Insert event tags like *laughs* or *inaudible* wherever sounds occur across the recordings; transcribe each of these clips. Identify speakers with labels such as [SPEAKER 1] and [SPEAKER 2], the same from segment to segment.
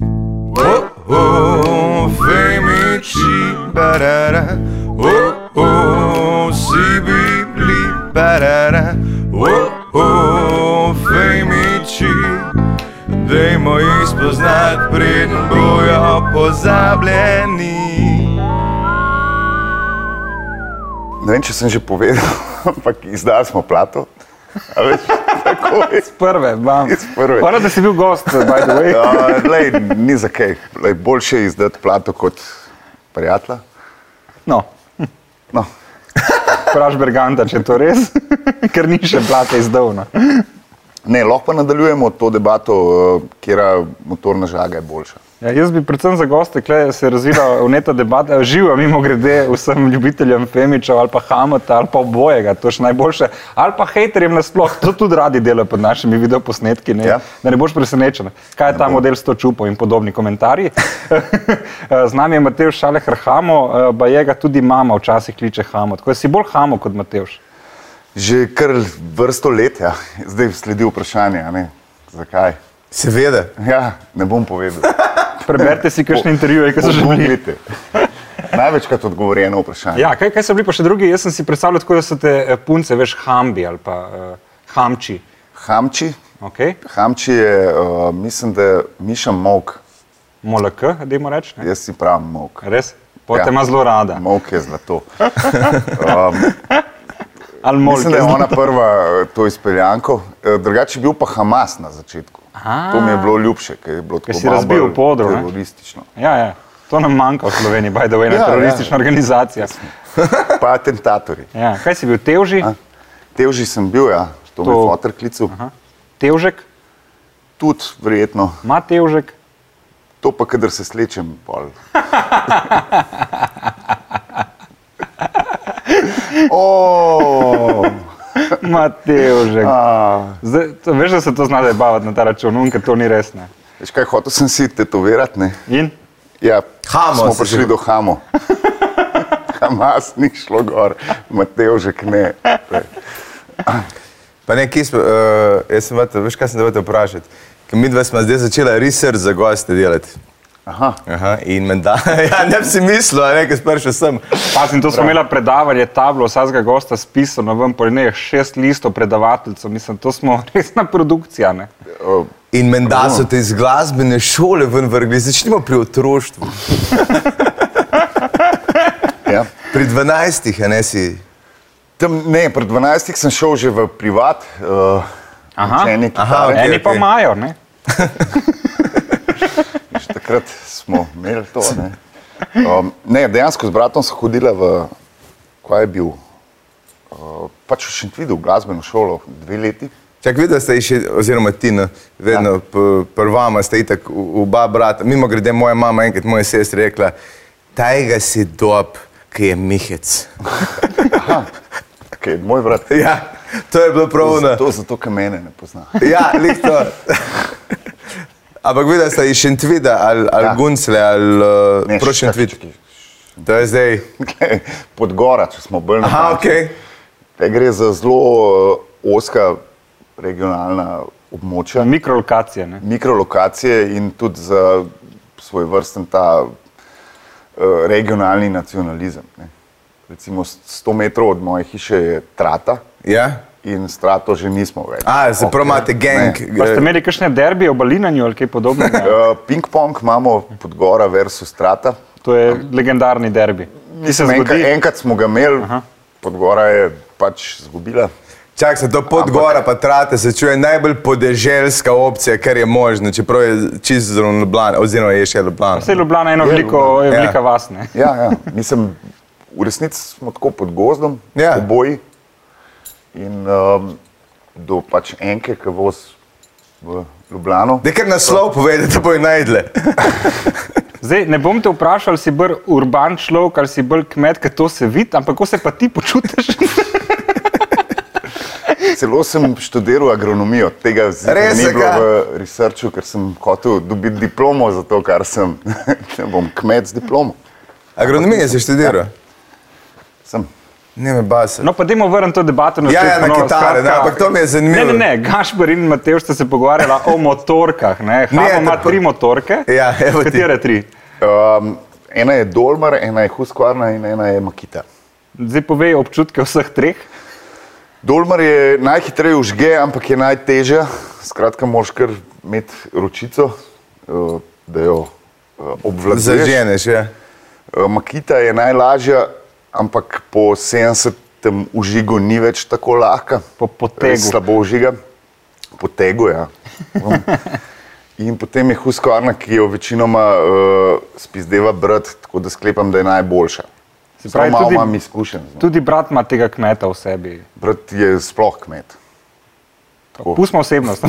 [SPEAKER 1] Oh, parara, oh oh, si bibli parara, oh oh, fejmiči. Dajmo jih spoznati, preden bojo pozabljeni.
[SPEAKER 2] Ne vem, če sem že povedal, *laughs* ampak izdali smo plato. A Veš, tako je.
[SPEAKER 3] Prve, bam.
[SPEAKER 2] Iz prve.
[SPEAKER 3] Hvala, da si bil gost, by the
[SPEAKER 2] *laughs*
[SPEAKER 3] way.
[SPEAKER 2] Uh, lej, ni za kaj. Lej, boljše je izdati plato kot prijatelja.
[SPEAKER 3] No,
[SPEAKER 2] No,
[SPEAKER 3] vpraš Berganta, če je to res, *laughs* ker ni še plate izdolna.
[SPEAKER 2] ne, lahko pa nadaljujemo to debato, kjer motorna žaga je boljša.
[SPEAKER 3] Ja, jaz bi predvsem za goste, ki se je razvila v neta debata, živa mimo grede vsem ljubiteljem Femiča ali pa Hamata ali pa obojega, to še najboljše, ali pa hejterjem nasploh, to tudi radi delajo pod našimi videoposnetki, ne? Ja.
[SPEAKER 2] Ja.
[SPEAKER 3] da ne boš presenečen, kaj je ta model 100 čupov in podobni komentarji. *laughs* Z nami je Matejš Šalehar Hamo, pa je ga eh, tudi mama včasih kliče Hamo, tako da si bolj Hamo kot Matejš.
[SPEAKER 2] Že kar vrsto let, ja. zdaj sledi vprašanje, a ne? zakaj.
[SPEAKER 1] Seveda.
[SPEAKER 2] Ja, ne bom povedal.
[SPEAKER 3] *laughs* Preberite si kakšne intervjuje, ki so že bili.
[SPEAKER 2] Pogooglite. Največkrat odgovorjeno vprašanje.
[SPEAKER 3] Ja, kaj, kaj so bili pa še drugi? Jaz sem si predstavljal tako, da so te eh, punce, veš, hambi ali pa uh, hamči.
[SPEAKER 2] Hamči,
[SPEAKER 3] Okay.
[SPEAKER 2] Hamči je, uh, mislim, da Miša Mok,
[SPEAKER 3] Molek, da jim rečem.
[SPEAKER 2] jaz si pravim Mok.
[SPEAKER 3] Res? Potem
[SPEAKER 2] Ja.
[SPEAKER 3] ima zelo rada.
[SPEAKER 2] Mok je
[SPEAKER 3] *laughs*
[SPEAKER 2] zlato. Um,
[SPEAKER 3] Ali Molek
[SPEAKER 2] Mislim, da
[SPEAKER 3] je
[SPEAKER 2] je
[SPEAKER 3] zelo-
[SPEAKER 2] ona prva eh, to izpeljanko. Eh, Drugače je bil pa Hamas na začetku.
[SPEAKER 3] Aha.
[SPEAKER 2] To mi je bilo ljubše, ker je bilo tako
[SPEAKER 3] si
[SPEAKER 2] malo
[SPEAKER 3] razbil
[SPEAKER 2] bolj
[SPEAKER 3] podro, ne?
[SPEAKER 2] Teroristično.
[SPEAKER 3] Ja, ja. To nam manjka v Sloveniji, by the way, ena
[SPEAKER 2] Ja, ja.
[SPEAKER 3] teroristična organizacija.
[SPEAKER 2] Pa atentatorji.
[SPEAKER 3] Ja. Kaj si bil, Tevži?
[SPEAKER 2] A? Tevži sem bil, ja, to, to... mi
[SPEAKER 3] To-
[SPEAKER 2] je fotor klical.
[SPEAKER 3] Aha. Tevžek,
[SPEAKER 2] Tudi verjetno,
[SPEAKER 3] ima Tevžek.
[SPEAKER 2] to pa, kadar se slečem,
[SPEAKER 3] *laughs*
[SPEAKER 2] pol. oh,
[SPEAKER 3] Ima Tevžek.
[SPEAKER 2] ah.
[SPEAKER 3] Zdaj, to, veš, da se to zna zabavati na ta račun, un, ker to ni res. Ne.
[SPEAKER 2] Veš kaj, hotel sem si tetovirati, ne?
[SPEAKER 3] In?
[SPEAKER 2] Ja,
[SPEAKER 1] Hamo
[SPEAKER 2] smo
[SPEAKER 1] si
[SPEAKER 2] prišli
[SPEAKER 1] želel.
[SPEAKER 2] do Hamo. *laughs* Hamas ni šlo gor, Mateo že kne.
[SPEAKER 1] Pa ne, kje smo, uh, jaz sem vate, veš, kaj sem te hotel vprašati. Ker mi dva smo zdaj začela research za goste delati.
[SPEAKER 2] Aha,
[SPEAKER 1] Aha, in menda, *laughs* ja, ne bi si mislil, a ne, ker sprašal sem.
[SPEAKER 3] Pazim, to smo imeli predavanje, tablo vsakega gosta spisano, ven po nekaj šest listov predavateljcev, mislim, to smo *laughs* resna produkcija. Ne?
[SPEAKER 2] o,
[SPEAKER 1] In menda so te iz glasbene šole ven vrgli, začnimo pri otroštvu.
[SPEAKER 2] ja.
[SPEAKER 1] Pri 12-ih, a ne si.
[SPEAKER 2] Tam, ne, pred 12 sem šel že v privat, uh,
[SPEAKER 3] Aha.
[SPEAKER 2] učenje
[SPEAKER 1] Aha,
[SPEAKER 2] kitare.
[SPEAKER 1] okej.
[SPEAKER 3] Eni pa imajo, ne?
[SPEAKER 2] Že takrat smo imeli to. Ne. Um, ne, dejansko z bratom sem hodila v, kaj je bil, uh, pač v Šentvidu, v glasbeno šolo, dve leti.
[SPEAKER 1] Čak videl ste še, oziroma ti, no, vedno ja. prvama ste itak v- oba brata. Mimo grede, moja mama enkrat moja sestra rekla, tajga si dob, ki je mihec.
[SPEAKER 2] Okay, moj brat,
[SPEAKER 1] *laughs* Ja, to je bilo prav na.
[SPEAKER 2] to zato, ker mene ne pozna.
[SPEAKER 1] Ja, lihto. *laughs* Ampak videl ste iz Šentvida ali, ali ja.
[SPEAKER 2] Ja.
[SPEAKER 1] Guncle ali
[SPEAKER 2] Ne,
[SPEAKER 1] uh, Prošentvida.
[SPEAKER 2] čakaj, čakaj.
[SPEAKER 1] To je zdaj.
[SPEAKER 2] *laughs* Glej, Podgora, če smo bolj
[SPEAKER 1] Aha,
[SPEAKER 2] natančni.
[SPEAKER 1] ok.
[SPEAKER 2] Tle Gre za zelo eh, oska regionalna območja,
[SPEAKER 3] Mikrolokacije. Ne?
[SPEAKER 2] mikrolokacije in tudi za svoj vrsten ta eh, regionalni nacionalizem. Ne. Recimo s- 100 metrov od moje hiše je trata
[SPEAKER 1] Ja.
[SPEAKER 2] in s trato že nismo več.
[SPEAKER 1] A, se pravi, imate gang. eh,
[SPEAKER 2] Ne.
[SPEAKER 3] Pa ste imeli kakšne derbije v Balinanju ali kaj podobnega?
[SPEAKER 2] Eh, Ping-pong imamo podgora versus trata.
[SPEAKER 3] To je legendarni derbi. Ki se
[SPEAKER 2] Mislim, Enkrat,
[SPEAKER 3] zgodi.
[SPEAKER 2] enkrat smo ga imeli, podgora je pač zgubila.
[SPEAKER 1] Čak se to pod gora, pa trate se čuje najbolj podeželska opcija, kar je možno, čeprav je čisto zelo Ljubljana, oziroma je še Ljubljana.
[SPEAKER 3] Vse je Ljubljana eno veliko, je
[SPEAKER 1] Ja.
[SPEAKER 3] velika vas. Ne?
[SPEAKER 2] Ja, ja. Mislim, v resnici smo tako pod gozdom,
[SPEAKER 1] Ja.
[SPEAKER 2] ja. oboji. In um, do pač enke, ki voz v Ljubljano.
[SPEAKER 1] Da kar naslov povedete, da bojo najdle.
[SPEAKER 3] Zdaj, ne bom te vprašal, ali si bolj urban človek ali si bolj kmet, ker to se vidi, ampak kako se pa ti počutiš?
[SPEAKER 2] Celo sem študiral agronomijo, tega zelo
[SPEAKER 1] Res,
[SPEAKER 2] ni bilo
[SPEAKER 1] zakaj?
[SPEAKER 2] v researchu, ker sem hotel dobiti diplomo za to, kar sem. *laughs* Če bom kmet z diplomo.
[SPEAKER 1] Agronomijo si študiral.
[SPEAKER 2] Sem.
[SPEAKER 1] Ja. Ne me basa.
[SPEAKER 3] No, pa dajmo vrniti to debato na
[SPEAKER 1] Ja,
[SPEAKER 3] začetek
[SPEAKER 1] ja, na
[SPEAKER 3] ponovno.
[SPEAKER 1] kitare, ne,
[SPEAKER 3] Skratka,
[SPEAKER 1] ampak to mi je zanimivo.
[SPEAKER 3] Ne, ne, ne, Gašpor in Mateoš sta se pogovarjala o motorkah. Ne,
[SPEAKER 1] Ne,
[SPEAKER 3] Hamo ima
[SPEAKER 1] tako-
[SPEAKER 3] tri motorke.
[SPEAKER 1] Ja, evo ti.
[SPEAKER 3] Katere tri?
[SPEAKER 2] Um, Ena je Dolmar, ena je Huskvarna in ena je Makita.
[SPEAKER 3] Zdaj povej občutke vseh treh.
[SPEAKER 2] Dolmar je najhitreje užge, ampak je najtežja. Skratka, moraš kar imeti ročico, eh, da jo eh, obvladuješ.
[SPEAKER 1] Zaženeš, ja.
[SPEAKER 2] Eh, Makita je najlažja, ampak po 70. užigu ni več tako lahka.
[SPEAKER 3] Po potegu.
[SPEAKER 2] Res Slabo užiga, potegu, ja. *laughs* Um, In potem je huskarna, ki jo večinoma uh, spizdeva brat, tako da sklepam, da je najboljša.
[SPEAKER 3] Se
[SPEAKER 2] Pravi,
[SPEAKER 3] pravi,
[SPEAKER 2] malo
[SPEAKER 3] tudi-
[SPEAKER 2] imam izkušenj. z njo.
[SPEAKER 3] Tudi brat ima tega kmeta v sebi.
[SPEAKER 2] Brat je sploh kmet. Tako.
[SPEAKER 3] Pustimo osebnost.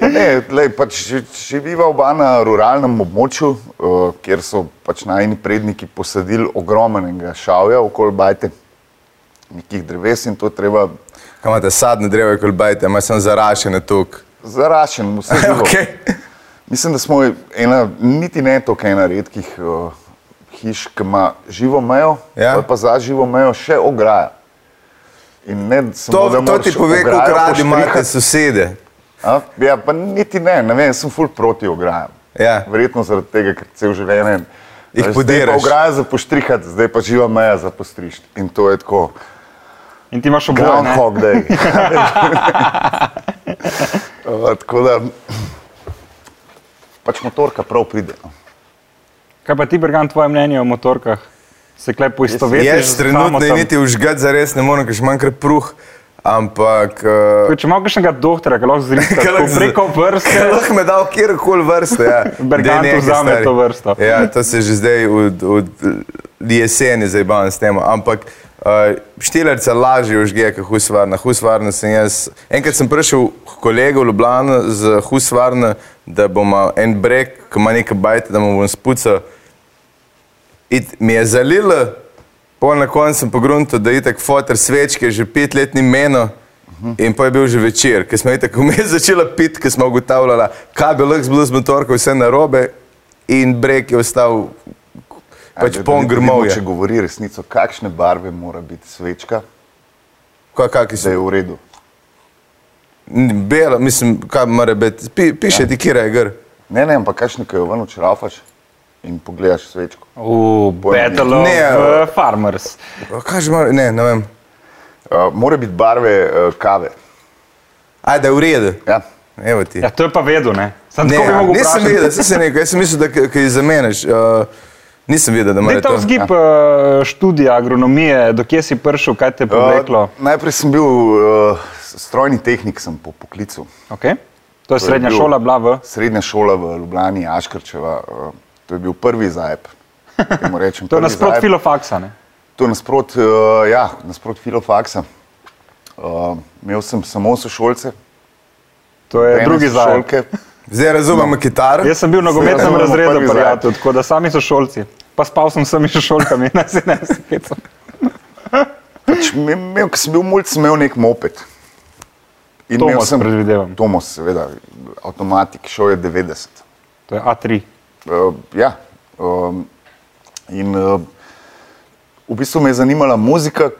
[SPEAKER 2] Ne, lej, pač, ži- živiva oba na ruralnem območju, uh, kjer so pač najni predniki posadili ogromnega šavja okoli bajte, nekih dreves in to je treba
[SPEAKER 1] Kaj imate sadne dreve, kolbajte, ima sem zarašene *laughs* tuk.
[SPEAKER 2] zarašen,
[SPEAKER 1] *laughs*
[SPEAKER 2] vse živo.
[SPEAKER 1] okay.
[SPEAKER 2] Mislim, da smo ena, niti ne toliko ena redkih uh, hiš, ki ima živo mejo,
[SPEAKER 1] Ja.
[SPEAKER 2] ja. pa za živo mejo še ograja. In ne, samo,
[SPEAKER 1] to,
[SPEAKER 2] da
[SPEAKER 1] to
[SPEAKER 2] moraš
[SPEAKER 1] ti pove,
[SPEAKER 2] ograjo
[SPEAKER 1] koliko radi imate
[SPEAKER 2] poštrihati.
[SPEAKER 1] sosede.
[SPEAKER 2] A? Ja, pa niti ne, ne vem, sem ful proti ograjam.
[SPEAKER 1] Ja.
[SPEAKER 2] Verjetno zaradi tega, ker cel življenje
[SPEAKER 1] Jih
[SPEAKER 2] Veš, Zdaj
[SPEAKER 1] podiraš.
[SPEAKER 2] pa ograja za poštrihati, zdaj pa živa meja za postrišt. In to je tako,
[SPEAKER 3] In ti imaš oboje. ne?
[SPEAKER 2] groundhog
[SPEAKER 1] *laughs*
[SPEAKER 2] day. uh, tako da, pač motorka prav pride. no.
[SPEAKER 3] Kaj pa ti, Bergan, tvoje mnenje o motorkah? Se klej poistovetiš?
[SPEAKER 1] Jaz
[SPEAKER 3] z samo
[SPEAKER 1] trenutno je
[SPEAKER 3] tam?
[SPEAKER 1] niti užgat za res ne morem, ker še manj kar pruh, ampak... Uh,
[SPEAKER 3] Če imaš kakšnega doktora, ki
[SPEAKER 1] *laughs*
[SPEAKER 3] lahko
[SPEAKER 1] Ke
[SPEAKER 3] zrihtira
[SPEAKER 1] lahko z-
[SPEAKER 3] preko
[SPEAKER 1] Ker
[SPEAKER 3] vrste,
[SPEAKER 1] lahko me dal kjerkoli vrste. Ja.
[SPEAKER 3] Bergant
[SPEAKER 1] Daj nekaj,
[SPEAKER 3] vzame
[SPEAKER 1] stari.
[SPEAKER 3] to vrsto.
[SPEAKER 1] Ja, to se že zdaj od, od jeseni zabavam s tem. Ampak uh, štilerca lažje užge, kot husvarna. Husvarna sem jaz. Enkrat sem prišel k kolegu v Ljubljano z husvarna, da bomo en breg, ki ima nekaj bajta, da mu bom spucal. In mi je zalilo, pol na koncu sem pogrunil, da je tako fotor svečke, že petletni meno. In pa je bil že večer, ker smo tako mi *laughs* začeli piti, ker smo ugotavljali, kaj bi lahko bilo z motorko, vse narobe. In breg je ostal pač
[SPEAKER 2] Ajde, da
[SPEAKER 1] poln
[SPEAKER 2] ne vidimo,
[SPEAKER 1] grmovja.
[SPEAKER 2] Če govori resnico, kakšne barve mora biti svečka,
[SPEAKER 1] Kaj, kaki so?
[SPEAKER 2] da je v redu.
[SPEAKER 1] N- Bela, mislim, kaj mora biti. Pi,
[SPEAKER 3] Ja.
[SPEAKER 1] piše ti, kje je gr.
[SPEAKER 2] Ne, ne, ampak kakšne, ki jo ven očarafaš in pogledaš svečko.
[SPEAKER 3] v Battle of
[SPEAKER 1] Ne,
[SPEAKER 3] eh, Farmers.
[SPEAKER 1] Kaj že mora, ne, ne vem.
[SPEAKER 2] Uh, mora biti barve uh, kave.
[SPEAKER 1] Ajde, v redu.
[SPEAKER 2] Ja.
[SPEAKER 1] Evo ti.
[SPEAKER 3] Ja, to je pa vedel, ne? Sam
[SPEAKER 1] Ne,
[SPEAKER 3] tako bi
[SPEAKER 1] ja,
[SPEAKER 3] mogel
[SPEAKER 1] nisem
[SPEAKER 3] vprašati.
[SPEAKER 1] vedel, sem se nekaj, jaz sem mislil, da k- kaj zamenjaš. Uh, nisem vedel, da
[SPEAKER 3] Daj
[SPEAKER 1] mora
[SPEAKER 3] ta
[SPEAKER 1] to.
[SPEAKER 3] vzgib
[SPEAKER 2] Ja.
[SPEAKER 3] eh, študija agronomije, dokje si prišel, kaj te je povleklo.
[SPEAKER 2] Uh, najprej sem bil uh, strojni tehnik, sem po poklicu.
[SPEAKER 3] Okay? To je
[SPEAKER 2] To je
[SPEAKER 3] srednja
[SPEAKER 2] bil-
[SPEAKER 3] šola, bila v...
[SPEAKER 2] Srednja šola v Ljubljani, Aškrčeva, uh, to je bil prvi zajep. temu Rečem,
[SPEAKER 3] *laughs* To je
[SPEAKER 2] prvi
[SPEAKER 3] nasprot
[SPEAKER 2] zajeb.
[SPEAKER 3] filofaksa, ne?
[SPEAKER 2] To je nasprot, uh, ja, nasprot filofaksa. Uh, imel sem samo sošolce,
[SPEAKER 3] To je
[SPEAKER 2] ene
[SPEAKER 3] drugi zajel.
[SPEAKER 2] sošolke.
[SPEAKER 1] Zdaj razumem no. kitaro.
[SPEAKER 3] Jaz sem bil v nogometnem
[SPEAKER 2] razumemo,
[SPEAKER 3] razredu,
[SPEAKER 2] Ja, prvi zajeb.
[SPEAKER 3] prijatelj, tako da sami so šolci. Pa spal sem s vsemi *laughs* šolkami, na 17 hecam.
[SPEAKER 2] Pač, me- imel, ko sem bil mulj, sem imel nek moped. In imel
[SPEAKER 3] Tomos, predvidevam.
[SPEAKER 2] Tomos, seveda, avtomatik, šel je 90.
[SPEAKER 3] To je A3.
[SPEAKER 2] Uh, ja. Um, in uh, v bistvu me je zanimala muzika,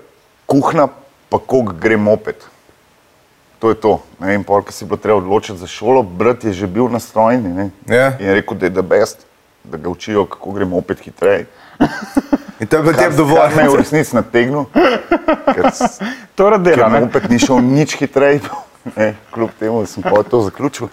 [SPEAKER 2] kuhna, pa kako gre moped. To je to. Ne, in pol, ki si bilo treba odločiti za šolo, brat je že bil nastrojen ne,
[SPEAKER 1] Ja.
[SPEAKER 2] in je rekel, da je the best, da ga učijo, kako gre moped hitreje.
[SPEAKER 1] In to je potem
[SPEAKER 2] Kar me je v
[SPEAKER 1] dovolj.
[SPEAKER 2] resnici nategnil, ker, s-
[SPEAKER 3] To je
[SPEAKER 2] ker
[SPEAKER 3] delo, ne?
[SPEAKER 2] moped ni šel nič hitreje, *laughs* ne, kljub temu da sem pa to zaključil.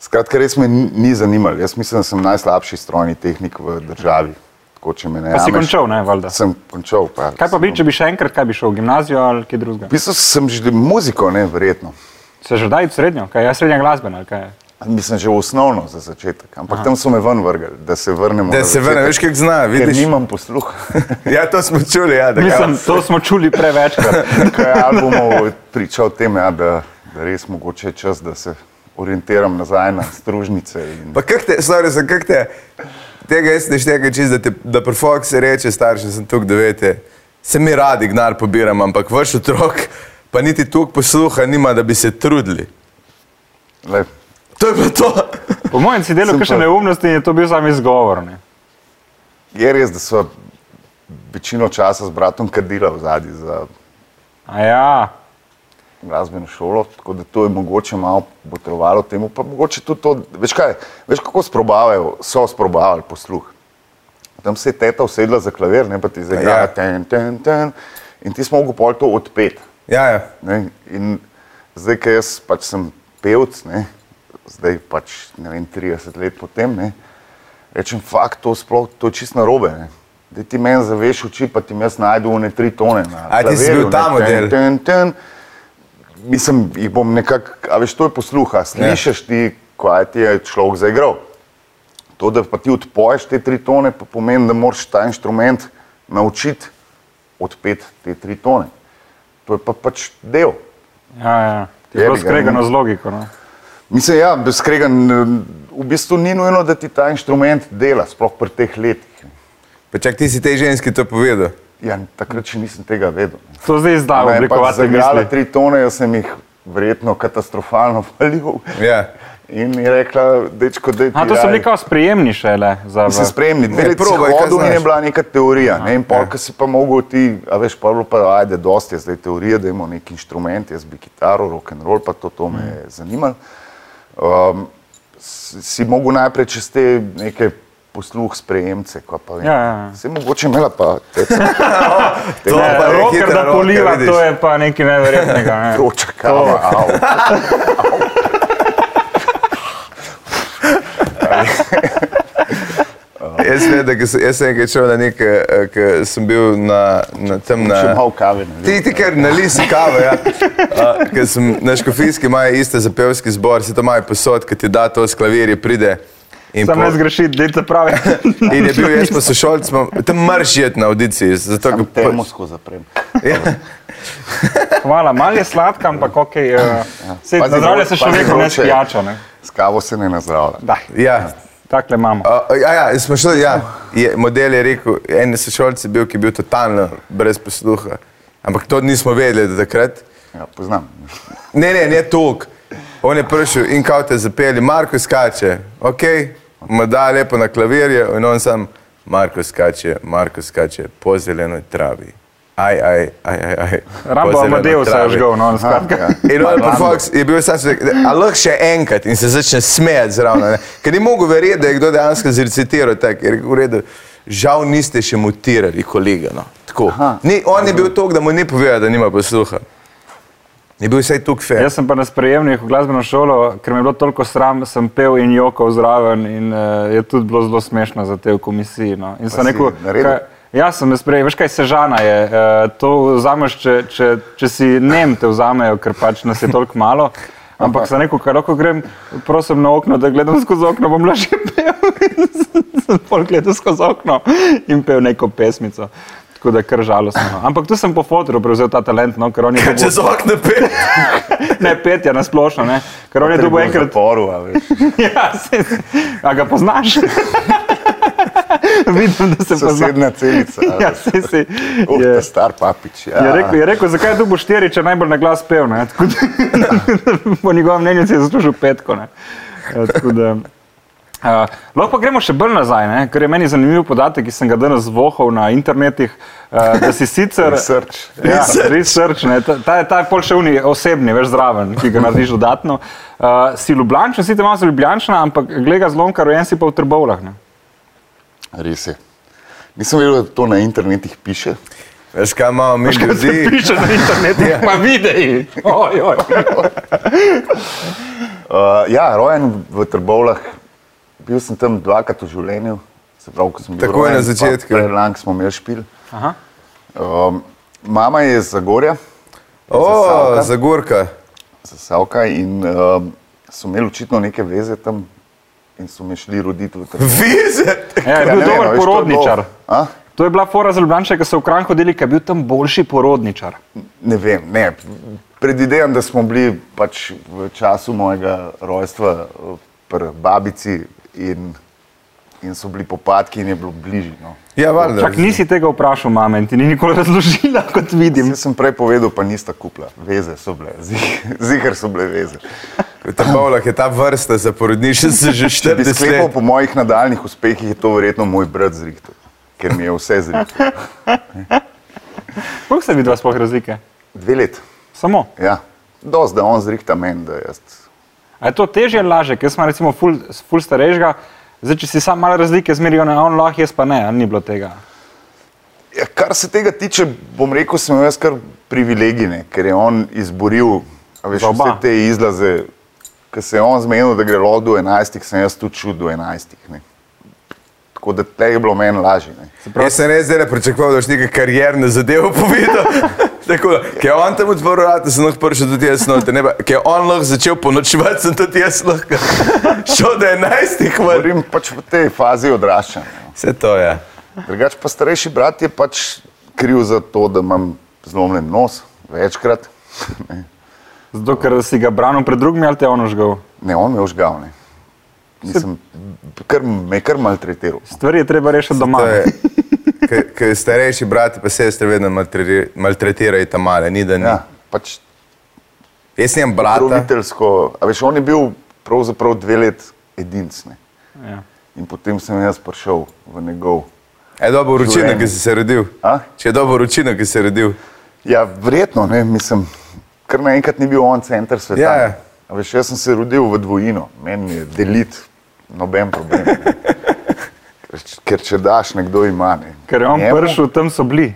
[SPEAKER 2] Skratka, res me ni, ni zanimalo. Jaz mislim, da sem najslabši strojni tehnik v državi. Tako, če me ne
[SPEAKER 3] Pa si
[SPEAKER 2] jameš.
[SPEAKER 3] končal, ne, valjda.
[SPEAKER 2] Sem končal. Pa,
[SPEAKER 3] Kaj pa bi, če bi še enkrat, kaj bi šel v gimnazijo ali kaj drugega?
[SPEAKER 2] V bistvu sem že muziko, ne, verjetno.
[SPEAKER 3] Se že daj v srednjo, kaj je srednja glasbena ali kaj je?
[SPEAKER 2] Mislim, že osnovno za začetek, ampak Aha. tam so me ven vrgli, da se vrnemo.
[SPEAKER 1] Da
[SPEAKER 2] na
[SPEAKER 1] se vrne,
[SPEAKER 2] začetek,
[SPEAKER 1] veš, kako zna,
[SPEAKER 2] Ker
[SPEAKER 1] vidiš.
[SPEAKER 2] nimam posluha, *laughs*
[SPEAKER 1] Ja, to smo čuli, ja, da
[SPEAKER 3] Mislim,
[SPEAKER 1] ga
[SPEAKER 3] to smo čuli prevečkrat.
[SPEAKER 2] kaj albumov priča o tem, ja, da, da res mogoče je čas, da se orientiram nazaj na stružnice. In...
[SPEAKER 1] Pa kak te, sorry, sem kak te, tega jaz ne štekam čist, da, te, da pri Fox reče staršem, sem tu, da veste, se mi radi gnar pobiram, ampak vaš otrok pa niti tu posluha nima, da bi se trudili.
[SPEAKER 2] Lej,
[SPEAKER 1] To je bilo
[SPEAKER 3] *laughs*
[SPEAKER 1] to.
[SPEAKER 3] Po mojem si delal
[SPEAKER 2] Sem
[SPEAKER 3] kakšne
[SPEAKER 2] pa-
[SPEAKER 3] neumnosti in je to bil sam izgovor. Ne?
[SPEAKER 2] je res, da so večino časa z bratom kadila v zadnji. Za,
[SPEAKER 3] A ja,
[SPEAKER 2] glasbeno šolo, tako da to je mogoče malo potrovalo temu, pa mogoče tudi to, veš kaj, veš kako sprobavajo, so sprobavali posluh. Tam se je teta usedla za klavir, ne pa ti
[SPEAKER 1] Ja.
[SPEAKER 2] zaigrala ja. ten, ten, ten in ti smo mogli pol to odpeti.
[SPEAKER 1] Ja, ja.
[SPEAKER 2] Ne? In zdaj, ker jaz pač sem pevc, ne? zdaj pač ne vem, 30 let potem, ne? rečem, fakt, to sploh, to je čisto narobe. Ne? Da ti meni zaveš oči, pa ti jaz najdu one tri tone. na
[SPEAKER 1] A, ti si
[SPEAKER 2] klavirju,
[SPEAKER 1] bil ta
[SPEAKER 2] ne, ten,
[SPEAKER 1] model?
[SPEAKER 2] Ten, ten. Mislim, jih bom nekako, a veš, to je
[SPEAKER 1] Ja.
[SPEAKER 2] posluha, slišiš ti, kaj ti je človek zaigral. To, da pa ti odpoješ te tri tone, pa pomeni, da moraš ta inštrument naučiti odpeti te tri tone. To je pa pač del.
[SPEAKER 3] Ja, ja. Je
[SPEAKER 2] Jebi
[SPEAKER 3] bilo
[SPEAKER 2] ga,
[SPEAKER 3] skregano
[SPEAKER 2] ne.
[SPEAKER 3] z logiko. No?
[SPEAKER 2] Mislim, ja, brez skregan, v bistvu ni nujno, da ti ta inštrument dela, sploh pri teh letih.
[SPEAKER 1] Pa čak ti si tej ženski to povedal.
[SPEAKER 2] Ja, takrat še nisem tega vedel.
[SPEAKER 3] To zdaj zdaj
[SPEAKER 2] Ona je pač
[SPEAKER 3] oblikovati
[SPEAKER 2] Zagrala
[SPEAKER 3] misli.
[SPEAKER 2] tri tone, jaz sem jih verjetno katastrofalno *laughs* valil.
[SPEAKER 1] Ja.
[SPEAKER 2] In je rekla, dečko, da je
[SPEAKER 3] A, to so bili kao sprejemni šele za
[SPEAKER 2] Mislim,
[SPEAKER 3] vas.
[SPEAKER 2] spremni, dve
[SPEAKER 1] Ne,
[SPEAKER 2] leti
[SPEAKER 1] probaj, kaj
[SPEAKER 2] hodil in je
[SPEAKER 1] znaš.
[SPEAKER 2] bila neka teorija. Ne, in
[SPEAKER 3] Ja.
[SPEAKER 2] polka si pa mogel ti, a veš, pa je bilo pa, ajde, dosti je zdaj teorije, da imamo nek inštrument, jaz bi kitaro, rock and roll, pa to, to me
[SPEAKER 3] Mm.
[SPEAKER 2] je zanimalo. Um, si, si mogel najprej čez te neke posluh sprejemce, ko pa vem.
[SPEAKER 3] Ja, ja, ja.
[SPEAKER 2] Se mogoče imela pa teca,
[SPEAKER 1] To
[SPEAKER 3] Ne,
[SPEAKER 1] pa je
[SPEAKER 3] Roker
[SPEAKER 1] hitra
[SPEAKER 3] da
[SPEAKER 1] roka,
[SPEAKER 3] poliva,
[SPEAKER 1] vidiš.
[SPEAKER 3] to je pa nekaj neverjetnega.
[SPEAKER 2] *laughs*
[SPEAKER 3] Ne. *laughs*
[SPEAKER 2] vroča kava. au.
[SPEAKER 1] Jaz vem, da ko sem- jaz sem enkrat šel na nek, eh, ko sem bil na, na tem na...
[SPEAKER 2] Če malo kave. ne vem.
[SPEAKER 1] Ti, ti kar nalisi kave, ja. Uh, ker sem na škofijski imajo iste za pevski zbor, se to imajo posod, ki ti da to s klavirje, pride. in
[SPEAKER 3] Sam
[SPEAKER 1] po-
[SPEAKER 3] ne zgreši, dete pravi.
[SPEAKER 1] In je bil jaz pa sošolc, imam- tam mrš je na audiciji. Zato,
[SPEAKER 2] Samo
[SPEAKER 1] ker
[SPEAKER 2] Termosko zaprem.
[SPEAKER 1] ja,
[SPEAKER 3] *laughs* Hvala, malo je sladka, ampak ok. Uh, se,
[SPEAKER 2] Pazi, no,
[SPEAKER 3] zdravlja se še
[SPEAKER 2] pazi,
[SPEAKER 3] vedno ne
[SPEAKER 2] vroče je.
[SPEAKER 3] spijača. Ne.
[SPEAKER 2] S kavo se ne nazdravlja.
[SPEAKER 3] Daj,
[SPEAKER 1] ja.
[SPEAKER 3] takle imamo.
[SPEAKER 1] Uh, ja, ja, smo šli, ja. Je, model je rekel, en sošolc je bil, ki je bil totalno brez posluha. Ampak to nismo vedeli do takrat.
[SPEAKER 2] Ja, poznam.
[SPEAKER 1] Ne, ne, ne tok. On je prišel in kao te zapeli, Marko skače, ok, mu da lepo na klavirje in on sam, Marko skače, Marko skače po zelenoj travi. Aj, aj, aj, aj. aj po
[SPEAKER 3] Rambo
[SPEAKER 1] zelenoj
[SPEAKER 3] Amadeus je
[SPEAKER 1] travi."
[SPEAKER 3] žgal, no,
[SPEAKER 2] Aha,
[SPEAKER 3] skratka.
[SPEAKER 2] ja.
[SPEAKER 1] In on pa Fox je bil sam rekel, a lahko še enkrat in se začne smejati zraven. ne. Ker ni mogel verjeti, da je kdo dejansko zrecitiral tako. Je rekel, v redu, žal niste še mutirali, kolega. No. Tako.
[SPEAKER 2] Aha.
[SPEAKER 1] Ni, on je bil tok, da mu ni povedal, da nima posluha. Je bil vsaj tok fair.
[SPEAKER 3] Jaz sem pa na sprejemnih v glasbeno šolo, ker me je bilo toliko sram, sem pel in jokal zraven in uh, je tudi bilo zelo smešno za te v komisiji. No. In sem
[SPEAKER 2] si
[SPEAKER 3] rekel,
[SPEAKER 2] naredil?
[SPEAKER 3] jaz sem sprejel, veš kaj, sežana je, uh, to vzameš, če, če, če si nem te vzamejo, ker pač nas je toliko malo. Ampak sem rekel, kaj lahko grem, prosim na okno, da gledam skozi okno, bom lažje pel. *laughs* In sem pol gledal skozi okno in pel neko pesmico. Tako da kar žalostno. no. Ampak tu sem po fotru prevzel ta talent, no, ker on je dobil-
[SPEAKER 1] Čez okno pet.
[SPEAKER 3] *laughs* Ne, petja na splošno, ne. Ker on je Torej, dobil enkrat.
[SPEAKER 2] poru, a veš.
[SPEAKER 3] *laughs* Ja, se, a ga poznaš? Vidim, da se poznaš.
[SPEAKER 2] Sosedna celica. a
[SPEAKER 3] *laughs* Ja,
[SPEAKER 2] veš. *laughs*
[SPEAKER 3] se, se.
[SPEAKER 2] Uf,
[SPEAKER 3] Je,
[SPEAKER 2] ta star papič. Ja.
[SPEAKER 3] je, rekel, je rekel, zakaj je dobil štiri, če najbolj na glas pev. ne. Tako da- *laughs* Po njegovem mnenju si je zaslužil petko. ne. Ja, tako da, Uh, lahko pa gremo še bolj nazaj, ne? ker je meni zanimiv podatek, ki sem ga danes vohal na internetih, uh, da
[SPEAKER 2] *laughs*
[SPEAKER 3] si sicer
[SPEAKER 2] Research.
[SPEAKER 3] Ja, research, ne, ta, ta, je- ta je pol še uni osebni, veš zraven, ki ga narediš dodatno. Uh, si ljubljančen, si te malo ljubljančen, ampak gleda zlomka, rojen si pa v trbovlah. Ne?
[SPEAKER 2] Res je. Nisem vedel, da to na internetih piše.
[SPEAKER 1] Veš kaj imamo mi ljudi?
[SPEAKER 3] Piše na internetu, ja. pa videi. Oj, oj.
[SPEAKER 2] Uh, ja, rojen v Trbovlah, bil sem tam dvakrat v življenju. se Pravi, ko sem bil
[SPEAKER 1] Takoj
[SPEAKER 2] rojen,
[SPEAKER 1] na začetku.
[SPEAKER 2] pa Predlang smo imeli špil.
[SPEAKER 3] Aha.
[SPEAKER 2] Um, mama je iz Zagorja,
[SPEAKER 1] O,
[SPEAKER 2] Zasavka.
[SPEAKER 1] zagorka.
[SPEAKER 2] zasavka in um, so imeli očitno neke veze tam in so me šli roditi v Trbovlah.
[SPEAKER 1] Vize.
[SPEAKER 3] Ja, je
[SPEAKER 2] Ja,
[SPEAKER 3] bil
[SPEAKER 2] ne vem, a
[SPEAKER 3] dober
[SPEAKER 2] veš, to je bilo-
[SPEAKER 3] porodničar.
[SPEAKER 2] A?
[SPEAKER 3] To je bila fora za ljubljanče, ki so v Kranju hodili, ker je bil tam boljši porodničar.
[SPEAKER 2] Ne vem, ne. Predvidevam, da smo bili pač v času mojega rojstva eh, pri babici in, in so bili popadki in je bilo bližje. No.
[SPEAKER 1] Ja, valjda.
[SPEAKER 3] Čak nisi tega vprašal, mame, in ti ni nikoli razložila, kot vidim.
[SPEAKER 2] Jaz sem prej povedal, pa nista kupla, veze so bile, zihar so bile veze.
[SPEAKER 1] V Trbovlah je ta vrsta za porodnišče se že
[SPEAKER 2] Če bi
[SPEAKER 1] 40
[SPEAKER 2] sklepal
[SPEAKER 1] let.
[SPEAKER 2] po mojih nadaljnih uspehih, je to verjetno moj brat zrihtel, ker mi je vse zrihtel.
[SPEAKER 3] Koliko se vidi vas sploh razlike?
[SPEAKER 2] Dve leti,
[SPEAKER 3] Samo.
[SPEAKER 2] ja. dosti, da on zrihta meni, da jaz.
[SPEAKER 3] A je to težje ali lažje? Ker smo recimo ful, ful starejšega, zdaj če si sam malo razlike zmerijo na on lahko, jaz pa ne, ali ni bilo tega.
[SPEAKER 2] Ja, kar se tega tiče, bom rekel, sem imel jaz kar privilegine, ker je on izboril a veš,
[SPEAKER 3] Za oba.
[SPEAKER 2] vse te izlaze. Ker se je on zmenil, da gre lahko do 11, sem jaz tudi čutil do 11. Ne. Tako da tle je bilo meni lažje. ne.
[SPEAKER 1] Jaz sem res zdaj pričakoval, da boš nekaj karierne zadeve povedal. *laughs* Tako, da, ki je on tam odprl vrata, sem lahko prišel tudi jaz noter. Ne pa, Ki je on lahko začel ponočevati, sem tudi jaz lahko *laughs* šel do 11. hvala.
[SPEAKER 2] Govorim pač v tej fazi odraščanja.
[SPEAKER 1] Vse to je.
[SPEAKER 2] Drugač pa starejši brat je pač kriv za to, da imam zlomljen nos večkrat. Ne,
[SPEAKER 3] Zato, ker si ga branil pred drugimi ali te je on užgal.
[SPEAKER 2] ne on me je užgal. Ne. Mislim, kar, me je kar maltretiral.
[SPEAKER 3] Stvari je treba rešiti doma.
[SPEAKER 1] To je. Ker- Ker starejši brati pa sestre vedno maltretira- maltretirajo ta male, ni da ne.
[SPEAKER 2] Ja,
[SPEAKER 1] Ja.
[SPEAKER 2] pač
[SPEAKER 1] Jaz sem brata.
[SPEAKER 2] Praviteljsko, a veš, on je bil pravzaprav dve let edincne.
[SPEAKER 3] Ja.
[SPEAKER 2] In potem sem jaz prišel v njegov.
[SPEAKER 1] Je dobil vročino,
[SPEAKER 2] Življenje.
[SPEAKER 1] ki si se rodil.
[SPEAKER 2] A?
[SPEAKER 1] Če je dobil vročino, ki si se rodil.
[SPEAKER 2] Ja, verjetno, ne, mislim, ker naenkrat ni bil on center sveta.
[SPEAKER 1] Ja, ja.
[SPEAKER 2] A veš, jaz sem se rodil v dvojino, meni je deliti noben problem.
[SPEAKER 3] *laughs*
[SPEAKER 2] ne. Ker, ker če daš, nekdo ima. Ne.
[SPEAKER 3] Ker je on
[SPEAKER 2] Njemu-
[SPEAKER 3] prišel, tam so bili.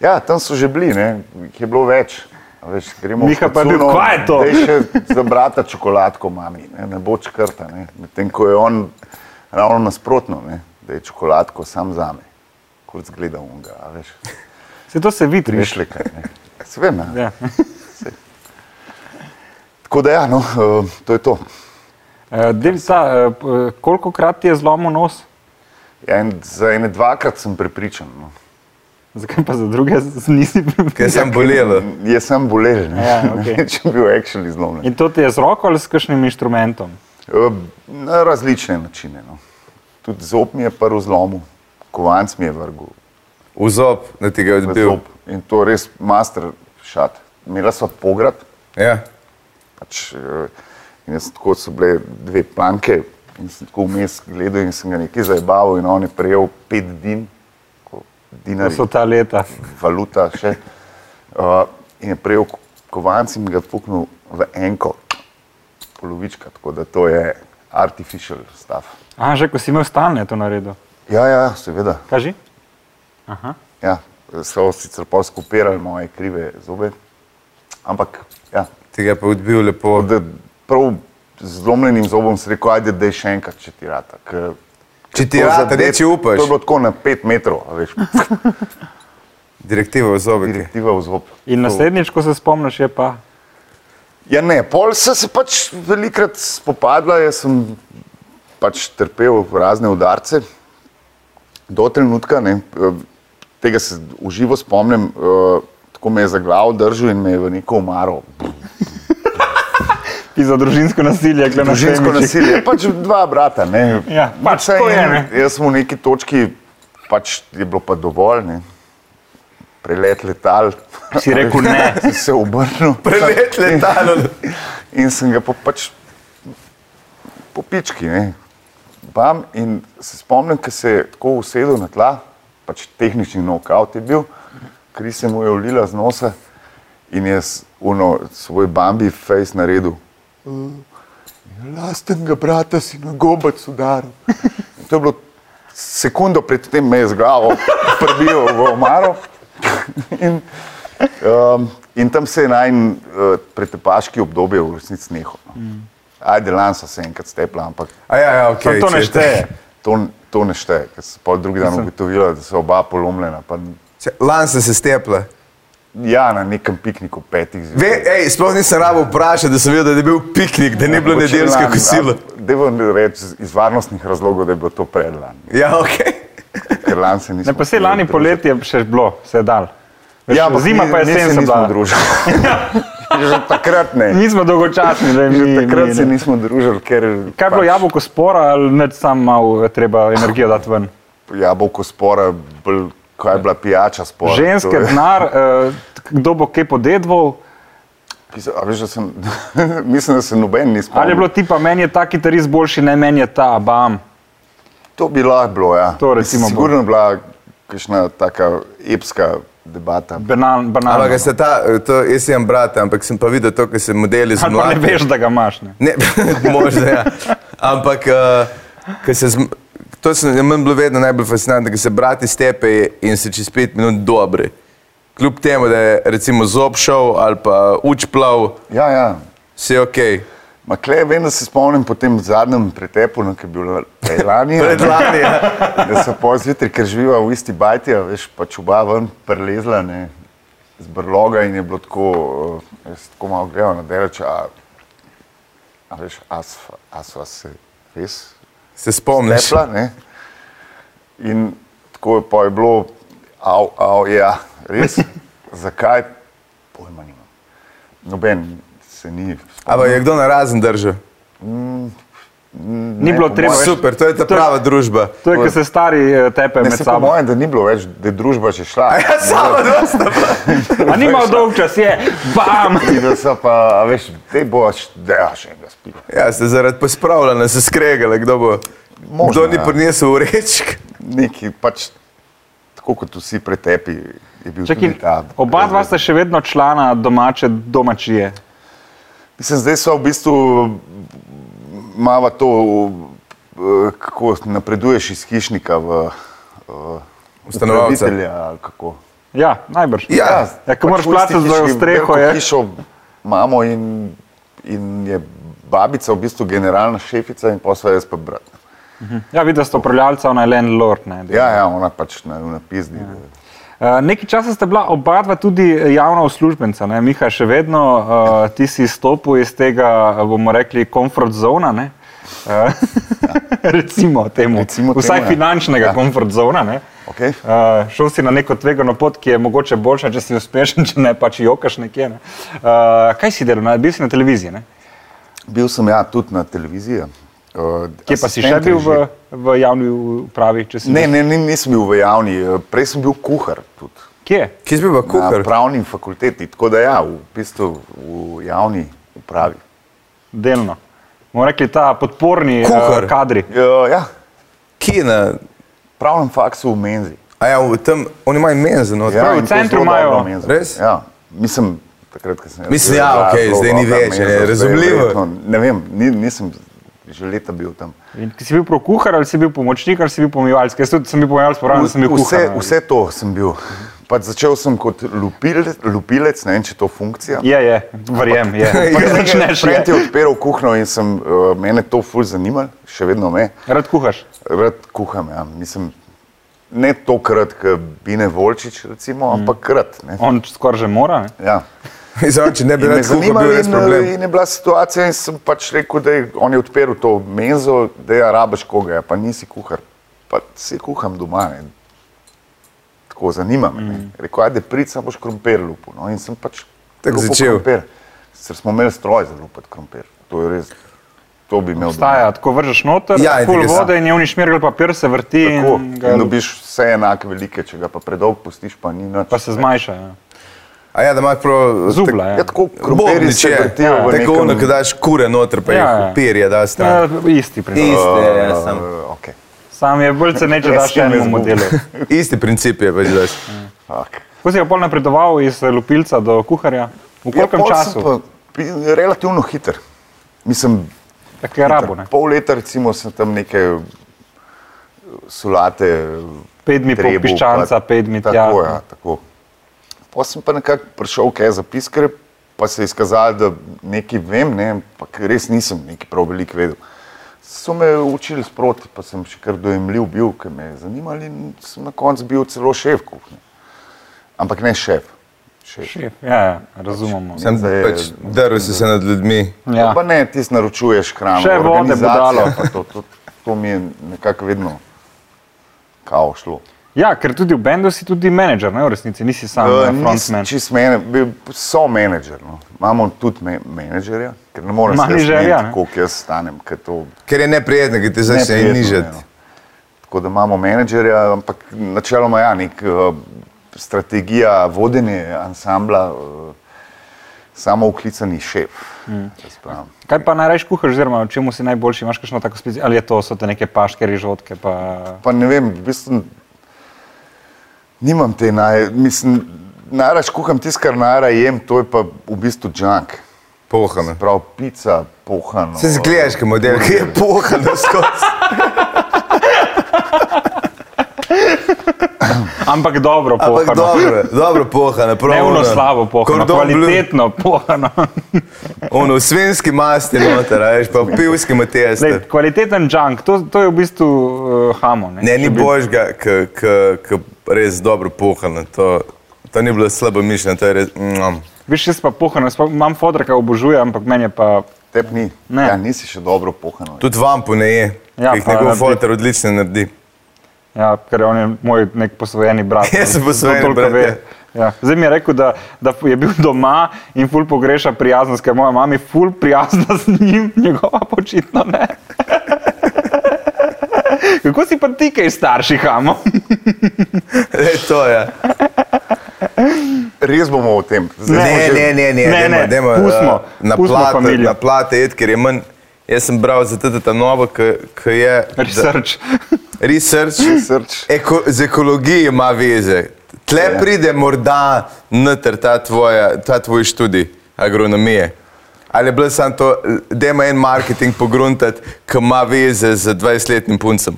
[SPEAKER 2] Ja, tam so že bili, ne, jih je bilo več. A Veš, gremo
[SPEAKER 3] Miha pa je bil, "Kva je to?"
[SPEAKER 2] Zdaj še za brata čokoladko mami, ne, ne bo črta. ne. Medtem ko je on ravno nasprotno, ne, da je čokoladko sam zame, kot zgleda unga. a Veš,
[SPEAKER 3] Se to se vidi. veš.
[SPEAKER 2] prišle kaj. Svem. Ja.
[SPEAKER 3] Ja. *laughs*
[SPEAKER 2] Tako da ja, no, eh, to je to.
[SPEAKER 3] Eh, David, ta, eh, p- eh, koliko krat ti je zlomil nos?
[SPEAKER 2] Ja, en, za ene dvakrat sem prepričan. No.
[SPEAKER 3] Zakaj pa za druge z- nisi
[SPEAKER 1] Ker
[SPEAKER 3] pripričan?
[SPEAKER 1] sem bolel.
[SPEAKER 2] Je sem bolel, ne,
[SPEAKER 3] Ja, okej.
[SPEAKER 2] ne, *laughs* če bi bil actually zlomljen. Eh,
[SPEAKER 3] In to ti je z roko ali s kakšnim inštrumentom?
[SPEAKER 2] Na različne načine. No. Tudi zob mi je prvo zlomil, kovanc mi je vrgel,
[SPEAKER 1] V zob, da ti ga je
[SPEAKER 2] v
[SPEAKER 1] odbil.
[SPEAKER 2] zob. In to res master šat. Imela so pograd,
[SPEAKER 1] Ja.
[SPEAKER 2] pač, eh, in jaz tako so bile dve planke. In sem tako vmes gledal in sem ga nekaj zabaval in on je prejel pet din,
[SPEAKER 3] To
[SPEAKER 2] dinar,
[SPEAKER 3] so ta leta.
[SPEAKER 2] valuta še. Uh, in je prejel ko- kovanc in ga puknil v enko, polovička, tako da to je artificial stuff.
[SPEAKER 3] A, že ko si imel stalne to naredil.
[SPEAKER 2] Ja, ja, seveda.
[SPEAKER 3] Kaži?
[SPEAKER 2] Ja, so sicer pa skupirali moje krive zobe, ampak ja,
[SPEAKER 1] Ti ga je pa odbil lepo.
[SPEAKER 2] da prav z zlomljenim zobom si rekel, ajde, da je še enkrat, če ti rata. Ker,
[SPEAKER 1] Če ti
[SPEAKER 2] to
[SPEAKER 1] rata,
[SPEAKER 2] zadet-
[SPEAKER 1] ne, če upaš.
[SPEAKER 2] To je bilo tako na 5 metrov, a veš,
[SPEAKER 1] Direktiva v zobe.
[SPEAKER 2] direktiva v zob.
[SPEAKER 3] In naslednjič, ko se spomniš, je pa.
[SPEAKER 2] Ja, ne, pol sem se pač velikrat spopadla, jaz sem pač trpel razne udarce do trenutka, ne, eh, tega se uživo spomnim, eh, tako me je za glavo držal in me je v neko omaro
[SPEAKER 3] Ti za družinsko nasilje, gledaj na
[SPEAKER 2] Družinsko
[SPEAKER 3] Semičih.
[SPEAKER 2] nasilje,
[SPEAKER 3] *laughs*
[SPEAKER 2] pač dva brata. Ne.
[SPEAKER 3] Ja, pač
[SPEAKER 2] Vsaj
[SPEAKER 3] to je,
[SPEAKER 2] en-
[SPEAKER 3] ne.
[SPEAKER 2] Jaz sem v neki točki, pač je bilo pa dovolj, ne. prelet letal.
[SPEAKER 3] Si rekel ne.
[SPEAKER 2] *laughs* Sem se obrnil
[SPEAKER 1] Prelet letalo.
[SPEAKER 2] *laughs* in sem ga pa pač po pički. Ne. Bam, in se spomnim, ko se je tako usedel na tla, pač tehnični knockout je bil, kri se mu je ulila z nosa in je s- uno, svoj bambi face naredil lastnega brata si na gobec udaril. In To je bilo sekundo predtem, me je z glavo *laughs* prbil v omaro. *laughs* In, um, in tam se je najmanj uh, pretepaški obdobje v resnici nehalo.
[SPEAKER 3] Mm.
[SPEAKER 2] No. Ajde, lansa se je enkrat stepla, ampak
[SPEAKER 1] A ja, ja, ok.
[SPEAKER 3] To- to ne
[SPEAKER 1] če-
[SPEAKER 3] šteje.
[SPEAKER 2] to, to ne šteje. Ker so pa drugi dan ugotovili, da so oba polomljena. Pa, n-
[SPEAKER 1] Če- Lan sem se stepla.
[SPEAKER 2] ja, na nekem pikniku petih
[SPEAKER 1] Ve,
[SPEAKER 2] zvečer.
[SPEAKER 1] ej, sploh nisem rabo vprašal, da sem videl, da je bil piknik, da ni bilo
[SPEAKER 2] Mogoče
[SPEAKER 1] nedeljsko
[SPEAKER 2] Ja, lani,
[SPEAKER 1] kosilo.
[SPEAKER 2] a- Dajmo reči iz varnostnih razlogov, da je bilo to predlani.
[SPEAKER 1] Ja, ok.
[SPEAKER 2] Ker lani se nismo.
[SPEAKER 3] Ne, pa se lani
[SPEAKER 2] uspeli
[SPEAKER 3] poleti je še bilo, se je dal. Veš,
[SPEAKER 2] Ja, ampak
[SPEAKER 3] zima
[SPEAKER 2] mi-
[SPEAKER 3] pa je
[SPEAKER 2] mi se
[SPEAKER 3] sen se
[SPEAKER 2] nismo
[SPEAKER 3] bila. *laughs*
[SPEAKER 2] družili. Že takrat ne.
[SPEAKER 3] Mi smo dolgočasni, da
[SPEAKER 2] *laughs* Že
[SPEAKER 3] mi
[SPEAKER 2] takrat
[SPEAKER 3] mi-
[SPEAKER 2] se nismo družili, ker pač
[SPEAKER 3] Kaj je bilo jabolko spora ali neč sam malo je treba energijo dati ven?
[SPEAKER 2] jabolko spora, bolj, kaj je bila pijača spora.
[SPEAKER 3] Ženske,
[SPEAKER 2] to je-
[SPEAKER 3] denar, eh, kdo bo kaj podedval,
[SPEAKER 2] Ki so- a Veš, da sem, *laughs* mislim, da se noben ni spomnil.
[SPEAKER 3] ali je bilo tipa, meni je ta kitarist boljši, ne meni je ta, bam.
[SPEAKER 2] To bi lahko bilo, ja.
[SPEAKER 3] To recimo
[SPEAKER 2] Mislim, Sigurno je bila kakšna taka epska debata.
[SPEAKER 3] Banan, banalno.
[SPEAKER 1] Ampak se ta, to, jaz sem brat, ampak sem pa videl to, kar se modeli z
[SPEAKER 3] Ali pa ne
[SPEAKER 1] mladimi.
[SPEAKER 3] veš, da ga imaš. Ne?
[SPEAKER 1] Ne, *laughs* možda ja. Ampak, uh, se, zm- to se je meni bilo vedno najbolj fascinantno, ker se brati stepe in se čez pet minut dobri. Kljub temu, da je recimo zob šel ali pa uč plav,
[SPEAKER 2] Ja, ja.
[SPEAKER 1] vse je ok.
[SPEAKER 2] Ma kle, vem, da se spomnim po tem zadnjem pretepu, no, ki je bil la- prej lani, a ne,
[SPEAKER 1] Predlani, ja.
[SPEAKER 2] da so po zvitri, ker živiva v isti bajti, a veš, pa čuba ven prelezla ne, z brloga in je bilo tako, eh, jaz tako malo gledal na delač, a, a veš, as, as vas se res
[SPEAKER 1] se spomniš.
[SPEAKER 2] tepla, ne. In tako je pa je bilo, av, av, ja, res, zakaj, pojma nimam. Noben se ni spomnil.
[SPEAKER 1] Ampak je kdo na razen držal?
[SPEAKER 3] Ni bilo
[SPEAKER 2] po
[SPEAKER 3] treba.
[SPEAKER 2] moje-
[SPEAKER 3] več-
[SPEAKER 1] Super, to je ta
[SPEAKER 3] to je-
[SPEAKER 1] prava družba.
[SPEAKER 3] To je, ko se stari eh, tepe
[SPEAKER 2] Ne,
[SPEAKER 3] med
[SPEAKER 2] se po
[SPEAKER 3] sabo.
[SPEAKER 2] mojem, da ni bilo več, da je družba že šla.
[SPEAKER 1] Ja, samo dosta.
[SPEAKER 3] A ni
[SPEAKER 2] *laughs*
[SPEAKER 3] imel dolg čas, je, bam!
[SPEAKER 2] In da so pa, a veš, te boš, da ja, še enega spiva.
[SPEAKER 1] Ja, ste zaradi pospravljanja se skregale, kdo bo.
[SPEAKER 2] Možno,
[SPEAKER 1] kdo ni
[SPEAKER 2] ja.
[SPEAKER 1] prinesel urečk?
[SPEAKER 2] Neki pač, tako kot vsi pretepi, je bil
[SPEAKER 3] Čakaj,
[SPEAKER 2] tudi ta.
[SPEAKER 3] oba dva sta še vedno člana domače domačije.
[SPEAKER 2] Mislim, zdaj so v bistvu, mava to, eh, kako napreduješ iz hišnika v eh,
[SPEAKER 1] Ustanovalca.
[SPEAKER 2] upravitelja ali kako. pač
[SPEAKER 3] Ja, najbrž.
[SPEAKER 1] Ja.
[SPEAKER 3] Ja, ko
[SPEAKER 2] v
[SPEAKER 3] moraš
[SPEAKER 2] isti
[SPEAKER 3] plačati za
[SPEAKER 2] hiši
[SPEAKER 3] streho,
[SPEAKER 2] veliko
[SPEAKER 3] je.
[SPEAKER 2] Hišo imamo in, in je babica v bistvu generalna šefica in posla jaz pa brat.
[SPEAKER 3] Ja, vidiš, sta upravljalca, ona je landlord. Ne,
[SPEAKER 2] Ja, ja, ona pač na, na pizdi. Ja.
[SPEAKER 3] Uh, Nekaj časa sta bila oba dva tudi javna uslužbenca, ne? Miha, še vedno uh, ti si izstopil iz tega, eh, bomo rekli, komfort zona. Ne? *laughs* Uh, recimo temu,
[SPEAKER 2] Ja. Recimo temu,
[SPEAKER 3] vsaj
[SPEAKER 2] ja.
[SPEAKER 3] finančnega ja.
[SPEAKER 2] Ja.
[SPEAKER 3] komfort zona. Ne?
[SPEAKER 2] Okay.
[SPEAKER 3] Uh, šel si na neko tvegano pot, ki je mogoče boljša, če si uspešen, *laughs* če ne pač jokaš nekje. Ne? Uh, kaj si delal, Na- bil si na televiziji, ne?
[SPEAKER 2] Bil sem ja tudi na televiziji. eh,
[SPEAKER 3] kje pa si še
[SPEAKER 2] asistent
[SPEAKER 3] bil v,
[SPEAKER 2] režij-
[SPEAKER 3] v javni upravi? če si
[SPEAKER 2] Ne,
[SPEAKER 3] bil?
[SPEAKER 2] ne, ne, nisem bil v javni, eh, prej sem bil kuhar tudi.
[SPEAKER 3] Kje?
[SPEAKER 1] Kje si bil pa
[SPEAKER 2] Na
[SPEAKER 1] kuhar?
[SPEAKER 2] pravni fakulteti, tako da ja, v bistvu v javni upravi.
[SPEAKER 3] Delno. Bomo rekli ta podporni
[SPEAKER 1] Kuhar.
[SPEAKER 3] uh, kadri.
[SPEAKER 2] Ja, ja,
[SPEAKER 1] Kje na
[SPEAKER 2] pravnem faksu v menzi.
[SPEAKER 1] A ja, v tem, oni imajo imen za noter.
[SPEAKER 2] Ja,
[SPEAKER 3] Prav, v
[SPEAKER 2] in to je
[SPEAKER 3] centru
[SPEAKER 2] zelo
[SPEAKER 3] imajo-
[SPEAKER 2] dobra menza.
[SPEAKER 1] Res?
[SPEAKER 2] Ja, mislim, takrat, ko sem jaz
[SPEAKER 1] Mislim,
[SPEAKER 2] bil,
[SPEAKER 1] ja,
[SPEAKER 2] je bila
[SPEAKER 1] okej,
[SPEAKER 2] zelo
[SPEAKER 1] zdaj ni
[SPEAKER 2] dobra
[SPEAKER 1] več,
[SPEAKER 2] menza,
[SPEAKER 1] ne,
[SPEAKER 2] zdaj
[SPEAKER 1] razumljivo.
[SPEAKER 2] verjetno, Ne vem, ni, nisem že leta bil tam.
[SPEAKER 3] In ki si bil prokuhar ali si bil pomočnik ali si bil pomivalec? Jaz tudi sem bil pomivalec, pravno sem bil
[SPEAKER 2] vse,
[SPEAKER 3] kuhar. no.
[SPEAKER 2] vse to sem bil. Pač začel sem kot lupilec, lupilec, ne vem, če je to funkcija.
[SPEAKER 3] Je, je, verjem,
[SPEAKER 2] *laughs* Ja,
[SPEAKER 3] je. Ampak Začneš ja.
[SPEAKER 2] Fred
[SPEAKER 3] je.
[SPEAKER 2] je odpiral kuhno in sem, uh, mene to ful zanimalo, še vedno me.
[SPEAKER 3] Rad kuhaš.
[SPEAKER 2] Rad kuham, ja. mislim, ne tokrat, kot Bine Volčič, recimo, mm. ampak krat. Ne.
[SPEAKER 3] On skoraj že mora. Ne?
[SPEAKER 2] Ja.
[SPEAKER 1] *laughs* Zdaj, če ne bi
[SPEAKER 2] In me
[SPEAKER 1] rekel, da
[SPEAKER 2] zanimalo
[SPEAKER 1] je res
[SPEAKER 2] in,
[SPEAKER 1] problem.
[SPEAKER 2] eh, in je bila situacija in sem pač rekel, da je on je odpiral to menzo, da je rabaš koga, ja, pa nisi kuhar, pa se kuham doma. Ne. Tako zanima me. Mm. Rekel, ajde, prid, sam boš krompir lupil. No. In sem pač
[SPEAKER 1] Tako
[SPEAKER 2] lupil
[SPEAKER 1] začel.
[SPEAKER 2] Krompir. Sicer smo imeli stroj za lupet krompir. To je res, to bi imel doma.
[SPEAKER 3] Staja, tako vržeš noter,
[SPEAKER 1] Ja, in
[SPEAKER 3] pol
[SPEAKER 1] tega sa-
[SPEAKER 3] vode in je unišmirgal papir, se vrti
[SPEAKER 2] Tako,
[SPEAKER 3] in, ga,
[SPEAKER 2] in dobiš vse enake velike, če ga pa predolg pustiš, pa ni nič.
[SPEAKER 3] pa se zmanjša. Ja.
[SPEAKER 1] A ja, da imaš prav...
[SPEAKER 3] Zubla,
[SPEAKER 2] Ja,
[SPEAKER 3] ja.
[SPEAKER 2] tako krompirji
[SPEAKER 1] Bobnič
[SPEAKER 2] se
[SPEAKER 1] je, Ja,
[SPEAKER 2] vrtijo v
[SPEAKER 1] tako ono,
[SPEAKER 2] nekem...
[SPEAKER 1] ko daš kure noter, pa
[SPEAKER 3] Ja, ja.
[SPEAKER 1] jih pirje daš
[SPEAKER 3] Ja,
[SPEAKER 1] stran.
[SPEAKER 3] isti
[SPEAKER 1] *laughs*
[SPEAKER 3] princip.
[SPEAKER 1] Isti, ja, ja,
[SPEAKER 2] Eh,
[SPEAKER 1] sam.
[SPEAKER 2] okej.
[SPEAKER 3] Sam je bolj ceneč, da
[SPEAKER 2] Jaz
[SPEAKER 3] daš
[SPEAKER 2] sem
[SPEAKER 3] enemu
[SPEAKER 2] izgubil.
[SPEAKER 3] modelu.
[SPEAKER 1] Oh. Isti princip je pač daš.
[SPEAKER 2] Fuck.
[SPEAKER 3] Ko si ga pol napredoval iz lupilca do kuharja, v kolikem
[SPEAKER 2] Ja, pol sem
[SPEAKER 3] času?
[SPEAKER 2] Pa, pi- relativno hiter. Mislim,
[SPEAKER 3] Tako je rabo, ne?
[SPEAKER 2] pol leta recimo sem tam neke uh, solate.
[SPEAKER 3] Pet dni po
[SPEAKER 2] trebu,
[SPEAKER 3] piščanca,
[SPEAKER 2] pa-
[SPEAKER 3] pet dni tja.
[SPEAKER 2] Tako, ja, tako. Potem sem pa nekako prišel k zapiskarju, pa se je izkazalo, da nekaj vem, ne, ampak res nisem nekaj prav veliko vedel. So me učili sproti, pa sem še kar dojemljiv bil, ker me je zanimalo in sem na koncu bil celo šef kuhne. Ampak ne šef. šef.
[SPEAKER 3] Šef, ja, ja, razumemo.
[SPEAKER 1] Sem
[SPEAKER 2] Zdaj-
[SPEAKER 1] pač drl si se nad ljudmi.
[SPEAKER 3] Ja.
[SPEAKER 2] Ja. Pa ne, ti si naročuješ hrano,
[SPEAKER 3] Še vode,
[SPEAKER 2] organizacija
[SPEAKER 3] budalo.
[SPEAKER 2] pa To, to, to mi je nekako vedno kao šlo.
[SPEAKER 3] Ja, ker tudi v bendu si tudi menedžer, ne v resnici, nisi sam
[SPEAKER 2] Eh,
[SPEAKER 3] uh,
[SPEAKER 2] nis-
[SPEAKER 3] frontman.
[SPEAKER 2] Čisto mene, bi- so menedžer. No. Imamo tudi me, menedžerja, ker ne morem se
[SPEAKER 3] Menedžerja, ne?
[SPEAKER 2] razumeti, koliko jaz stanem. ker to
[SPEAKER 1] Ker je neprijetno, ker ti začne
[SPEAKER 2] neprijetno,
[SPEAKER 1] nižati.
[SPEAKER 2] ne, no. Tako da imamo menedžerja, ampak načeloma ja, nek eh, strategija, vodenje ansambla, eh, samo uklicani šef. Mm.
[SPEAKER 3] Kaj pa najraš kuhaš, oziroma v čemu si najboljši, imaš kakšno tako specifično, ali je to, so te neke paške, rižotke, pa
[SPEAKER 2] Pa ne vem, v bistvu Nimam te naj, mislim, najraž kuham tisto, kar najraž jem, to je pa v bistvu junk.
[SPEAKER 1] Pohano.
[SPEAKER 2] Prav pica, pohano.
[SPEAKER 1] Se zgledaš, kot model, ki je pohan skozi.
[SPEAKER 2] *laughs*
[SPEAKER 3] Ampak dobro,
[SPEAKER 1] Ampak
[SPEAKER 3] pohano.
[SPEAKER 1] dobro, dobro pohano. prav
[SPEAKER 3] Neumno
[SPEAKER 1] ono.
[SPEAKER 3] slabo pohano,
[SPEAKER 1] Cordon bleu,
[SPEAKER 3] kvalitetno pohano.
[SPEAKER 1] Ono, svinski masti noter, a veš, pa pivski matijas.
[SPEAKER 3] Lej, kvaliteten junk, to, to je v bistvu uh, hamo. Ne?
[SPEAKER 1] Ne, ni božga, ki res dobro pohano. To, to ni bilo slabo mišljeno, to je res... Mm,
[SPEAKER 3] Viš, jaz pa pohano, sploh imam fodra, ki obožuje, ampak meni je pa
[SPEAKER 2] Tep ni.
[SPEAKER 3] Ne.
[SPEAKER 2] Ja, nisi še dobro pohano.
[SPEAKER 1] tudi vam poneje,
[SPEAKER 3] Ja,
[SPEAKER 1] ja, jih
[SPEAKER 3] pa
[SPEAKER 1] njegov
[SPEAKER 3] naredi.
[SPEAKER 1] fotor odlično naredi. *laughs*
[SPEAKER 3] Ja, ker je on je moj nek posvojeni
[SPEAKER 1] *laughs*
[SPEAKER 3] brat.
[SPEAKER 1] Jaz sem
[SPEAKER 3] Zato
[SPEAKER 1] Ja, posvojeni
[SPEAKER 3] toliko
[SPEAKER 1] brat,
[SPEAKER 3] ve.
[SPEAKER 1] ja.
[SPEAKER 3] Ja. Zdaj mi je rekel, da, da je bil doma in ful pogreša prijaznost, ker moja mama je ful prijazna z njim, *laughs* njegova pa očitno ne. *laughs* Kako si pa ti kaj starši, hamo? *laughs*
[SPEAKER 1] E, to je.
[SPEAKER 2] Res bomo o tem.
[SPEAKER 1] Ne,
[SPEAKER 2] smo
[SPEAKER 3] Ne,
[SPEAKER 2] že-
[SPEAKER 1] ne, ne, ne,
[SPEAKER 3] ne, ne,
[SPEAKER 1] dajmo- dajmo,
[SPEAKER 3] pustimo,
[SPEAKER 1] eh, na
[SPEAKER 3] pustimo
[SPEAKER 1] plate,
[SPEAKER 3] familijo.
[SPEAKER 1] na plate jed, ker je manj. Jaz sem bral za teta novo, ki je...
[SPEAKER 3] Research. *laughs*
[SPEAKER 1] Research.
[SPEAKER 2] Srč.
[SPEAKER 3] E,
[SPEAKER 1] Eko, z ekologijo ima veze. Tle ja. pride morda noter ta, tvoja, ta tvoj študij agronomije. Ali je bilo samo to, da ima en marketing pogruntati, ki ima veze z 20-letnim puncem?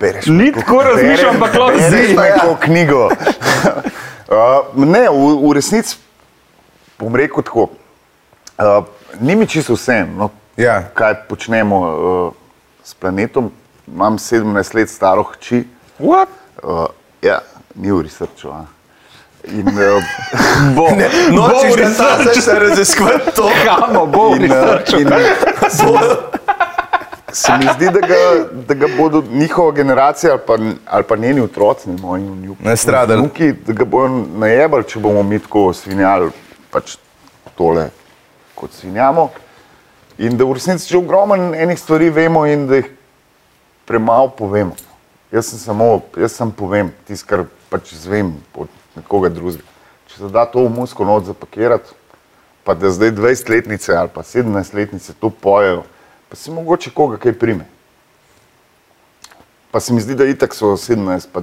[SPEAKER 2] Bereš.
[SPEAKER 3] Ni tako razmišljam, ampak lahko
[SPEAKER 2] Bereš
[SPEAKER 3] zdi. Ja.
[SPEAKER 2] pa neko knjigo. *laughs* uh, ne, v, v resnici bom rekel tako. Uh, ni mi čisto vse, no,
[SPEAKER 1] Ja.
[SPEAKER 2] kaj počnemo uh, s planetom. Imam 17 let staro hči.
[SPEAKER 3] What?
[SPEAKER 2] Uh, ja, ni v resrču. In, uh,
[SPEAKER 3] Bo.
[SPEAKER 1] Ne,
[SPEAKER 3] bo
[SPEAKER 1] Nočeš,
[SPEAKER 3] v
[SPEAKER 1] da ta
[SPEAKER 3] research.
[SPEAKER 1] zdaj se raziskovati to,
[SPEAKER 3] Hamo, bo *laughs* v
[SPEAKER 2] in,
[SPEAKER 1] eh,
[SPEAKER 2] uh,
[SPEAKER 3] researchu.
[SPEAKER 2] in se mi zdi, da ga, da ga bodo njihova generacija ali pa, ali pa njeni otroci, ne moji vnuki,
[SPEAKER 1] Nastradali.
[SPEAKER 2] vnuki, da ga bodo najebali, če bomo mi tako svinjali pač tole, kot svinjamo. In da v resnici že ogromno enih stvari vemo in da jih premalo povemo. Jaz sem samo, jaz sem povem tisto, kar pač izvem od nekoga drugega. Če se da to v musko noč zapakirati, pa da zdaj 20-letnice ali pa 17-letnice to pojejo, pa se mogoče koga kaj prime. Pa se mi zdi, da itak so 17 pa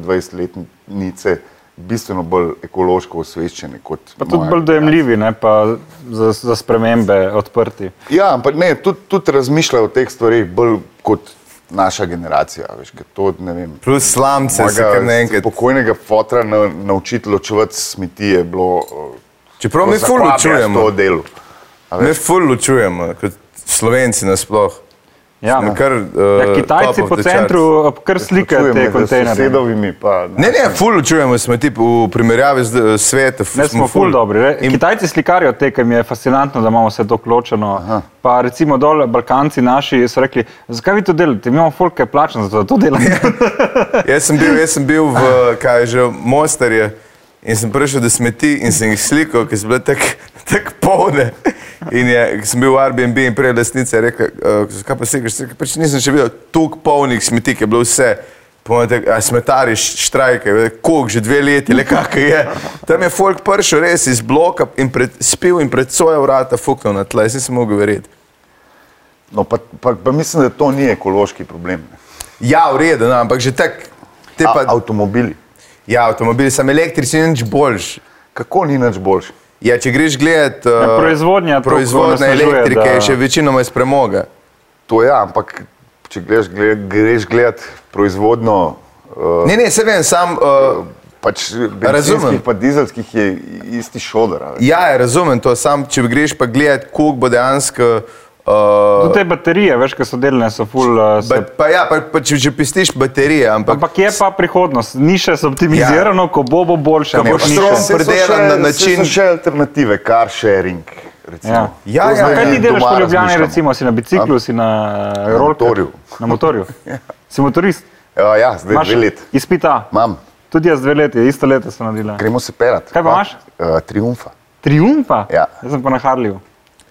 [SPEAKER 2] 20-letnice bistveno bolj ekološko osveščene kot
[SPEAKER 3] Pa tudi
[SPEAKER 2] moja
[SPEAKER 3] bolj dojemljivi, ne pa za, za spremembe odprti.
[SPEAKER 2] Ja, ampak ne, tudi, tudi razmišljajo o teh stvarih bolj kot naša generacija. Veš, ker to, ne vem,
[SPEAKER 1] plus slamce, se kar
[SPEAKER 2] mojega
[SPEAKER 1] naenkrat.
[SPEAKER 2] pokojnega fotra na, naučiti ločevati smeti je bilo. eh,
[SPEAKER 1] Čeprav No, mi ful ločujemo,
[SPEAKER 2] To delo.
[SPEAKER 1] mi ful ločujemo, kot slovenci nasploh.
[SPEAKER 3] Ja,
[SPEAKER 1] Smo kar, eh,
[SPEAKER 3] ja, Kitajci
[SPEAKER 1] top of
[SPEAKER 3] po
[SPEAKER 1] the
[SPEAKER 3] centru eh, kar slikajo te kontejnerje.
[SPEAKER 2] Sosedovimi pa.
[SPEAKER 1] Ne, ne, ful ločujemo, smo ti v primerjavi z eh, svetom.
[SPEAKER 3] Ne, smo ful dobri. re.
[SPEAKER 1] In-
[SPEAKER 3] Kitajci slikarijo te, ki mi je fascinantno, da imamo vse tako ločeno. Aha. Pa recimo dol, Balkanci naši so rekli, zakaj vi to delate, mi imamo folk, ki je plačen za to, da to delate.
[SPEAKER 1] Jaz sem bil, jaz sem bil
[SPEAKER 3] *laughs*
[SPEAKER 1] v kaj je že Mostarju in sem prišel do smeti in sem jih slikal, ker so bile tako tak polne. In je, ko sem bil v Airbnb in prej lastnica je rekla, "Eh, zakaj pa slikaš, Sem rekel, pač nisem še videl toliko polnih smeti, ki je bilo vse. Pomete, a smetari štrajkajo, koliko že dve leti, le kako je. Tam je folk prišel res iz bloka in pred, spil in pred svoje vrata fuknil na tla, jaz nisem mogel verjeti.
[SPEAKER 2] No, pa, pa, pa mislim, da to ni ekološki problem. ne.
[SPEAKER 1] Ja, v redu, no, ampak že tako. te
[SPEAKER 2] A,
[SPEAKER 1] Pa,
[SPEAKER 2] avtomobili.
[SPEAKER 1] ja, avtomobili, sem električni, nič boljši.
[SPEAKER 2] Kako ni nič boljši?
[SPEAKER 1] Ja, če greš gledat, eh,
[SPEAKER 3] Ja, proizvodnja toliko
[SPEAKER 1] proizvodnja
[SPEAKER 3] onesnažuje,
[SPEAKER 1] elektrike
[SPEAKER 3] da-
[SPEAKER 1] je še večinoma iz premoga.
[SPEAKER 2] To ja, ampak če greš, gled, greš gledat proizvodno. Uh,
[SPEAKER 1] Ne, ne, se vem, sam, uh,
[SPEAKER 2] Pač
[SPEAKER 1] Razumem.
[SPEAKER 2] bencinskih pa dizelskih je isti šodar. a veš.
[SPEAKER 1] ja, ja, razumem to, sam, če greš pa gledat, koliko bo dejansko, uh,
[SPEAKER 3] Tudi te baterije, veš, ki so delne, so full.
[SPEAKER 1] ba,
[SPEAKER 3] eh, Se,
[SPEAKER 1] pa ja, pa, pa če, če pestiš baterije, ampak,
[SPEAKER 3] ampak je pa prihodnost, ni še optimizirano, ja. ko bo, bo boljše.
[SPEAKER 1] Ko
[SPEAKER 3] ampak
[SPEAKER 1] boš
[SPEAKER 3] ni
[SPEAKER 1] strom
[SPEAKER 3] še.
[SPEAKER 2] Saj so
[SPEAKER 1] predelan
[SPEAKER 2] še-
[SPEAKER 1] na
[SPEAKER 2] saj
[SPEAKER 1] način-
[SPEAKER 2] So še alternative, car sharing.
[SPEAKER 3] Ja.
[SPEAKER 2] recimo.
[SPEAKER 1] Ja,
[SPEAKER 2] To
[SPEAKER 1] ja,
[SPEAKER 2] zdaj
[SPEAKER 1] ja.
[SPEAKER 3] Kaj ti
[SPEAKER 2] doma
[SPEAKER 3] delaš po Ljubljani,
[SPEAKER 2] razmišljamo.
[SPEAKER 3] recimo, si na biciklu, si na eh, rolkah?
[SPEAKER 2] motorju.
[SPEAKER 3] Na motorju. Si motorist?
[SPEAKER 2] Ja, ja, zdaj
[SPEAKER 3] Imaš
[SPEAKER 2] dve leti.
[SPEAKER 3] Izpita.
[SPEAKER 2] Imam,
[SPEAKER 3] Tudi jaz dve leti, isto leto sem naredila.
[SPEAKER 2] gremo se perat.
[SPEAKER 3] Kaj pa imaš?
[SPEAKER 2] Uh, triumfa.
[SPEAKER 3] Triumfa?
[SPEAKER 2] Ja.
[SPEAKER 3] Jaz sem pa na Harliju.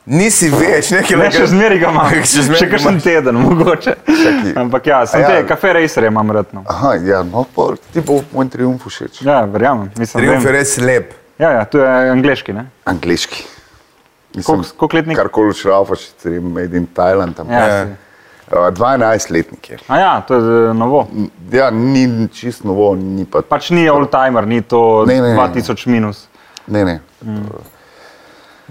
[SPEAKER 1] nisi več nekaj
[SPEAKER 3] Ne, še zmeraj ga
[SPEAKER 2] *laughs*
[SPEAKER 1] *laughs*
[SPEAKER 3] imam.
[SPEAKER 1] Še
[SPEAKER 3] še
[SPEAKER 1] zmeraj ga
[SPEAKER 3] kakšen
[SPEAKER 1] imaš.
[SPEAKER 3] teden, mogoče.
[SPEAKER 2] Čakaj.
[SPEAKER 3] Ampak ja, sem
[SPEAKER 2] A ja.
[SPEAKER 3] te, kafe racerje imam redno.
[SPEAKER 2] Aha, ja, no, pol, ti bo moj triumf všeč.
[SPEAKER 3] Ja, verjamem. Mislim,
[SPEAKER 1] Triumf je
[SPEAKER 3] vem.
[SPEAKER 1] res lep.
[SPEAKER 3] Ja, ja, to je angliški, ne?
[SPEAKER 2] Angliški.
[SPEAKER 3] Koliko koliko letnik?
[SPEAKER 2] Karkoli šraufaš, ti je made in Thailand. Tam.
[SPEAKER 3] Ja,
[SPEAKER 1] Ja.
[SPEAKER 3] si.
[SPEAKER 2] 12-letnik je.
[SPEAKER 3] A ja, to je eh, novo.
[SPEAKER 2] Ja, ni čisto novo, ni pa.
[SPEAKER 3] Pač ni all-timer, ni to
[SPEAKER 2] Ne, ne, ne.
[SPEAKER 3] 2000 minus.
[SPEAKER 2] Ne, ne.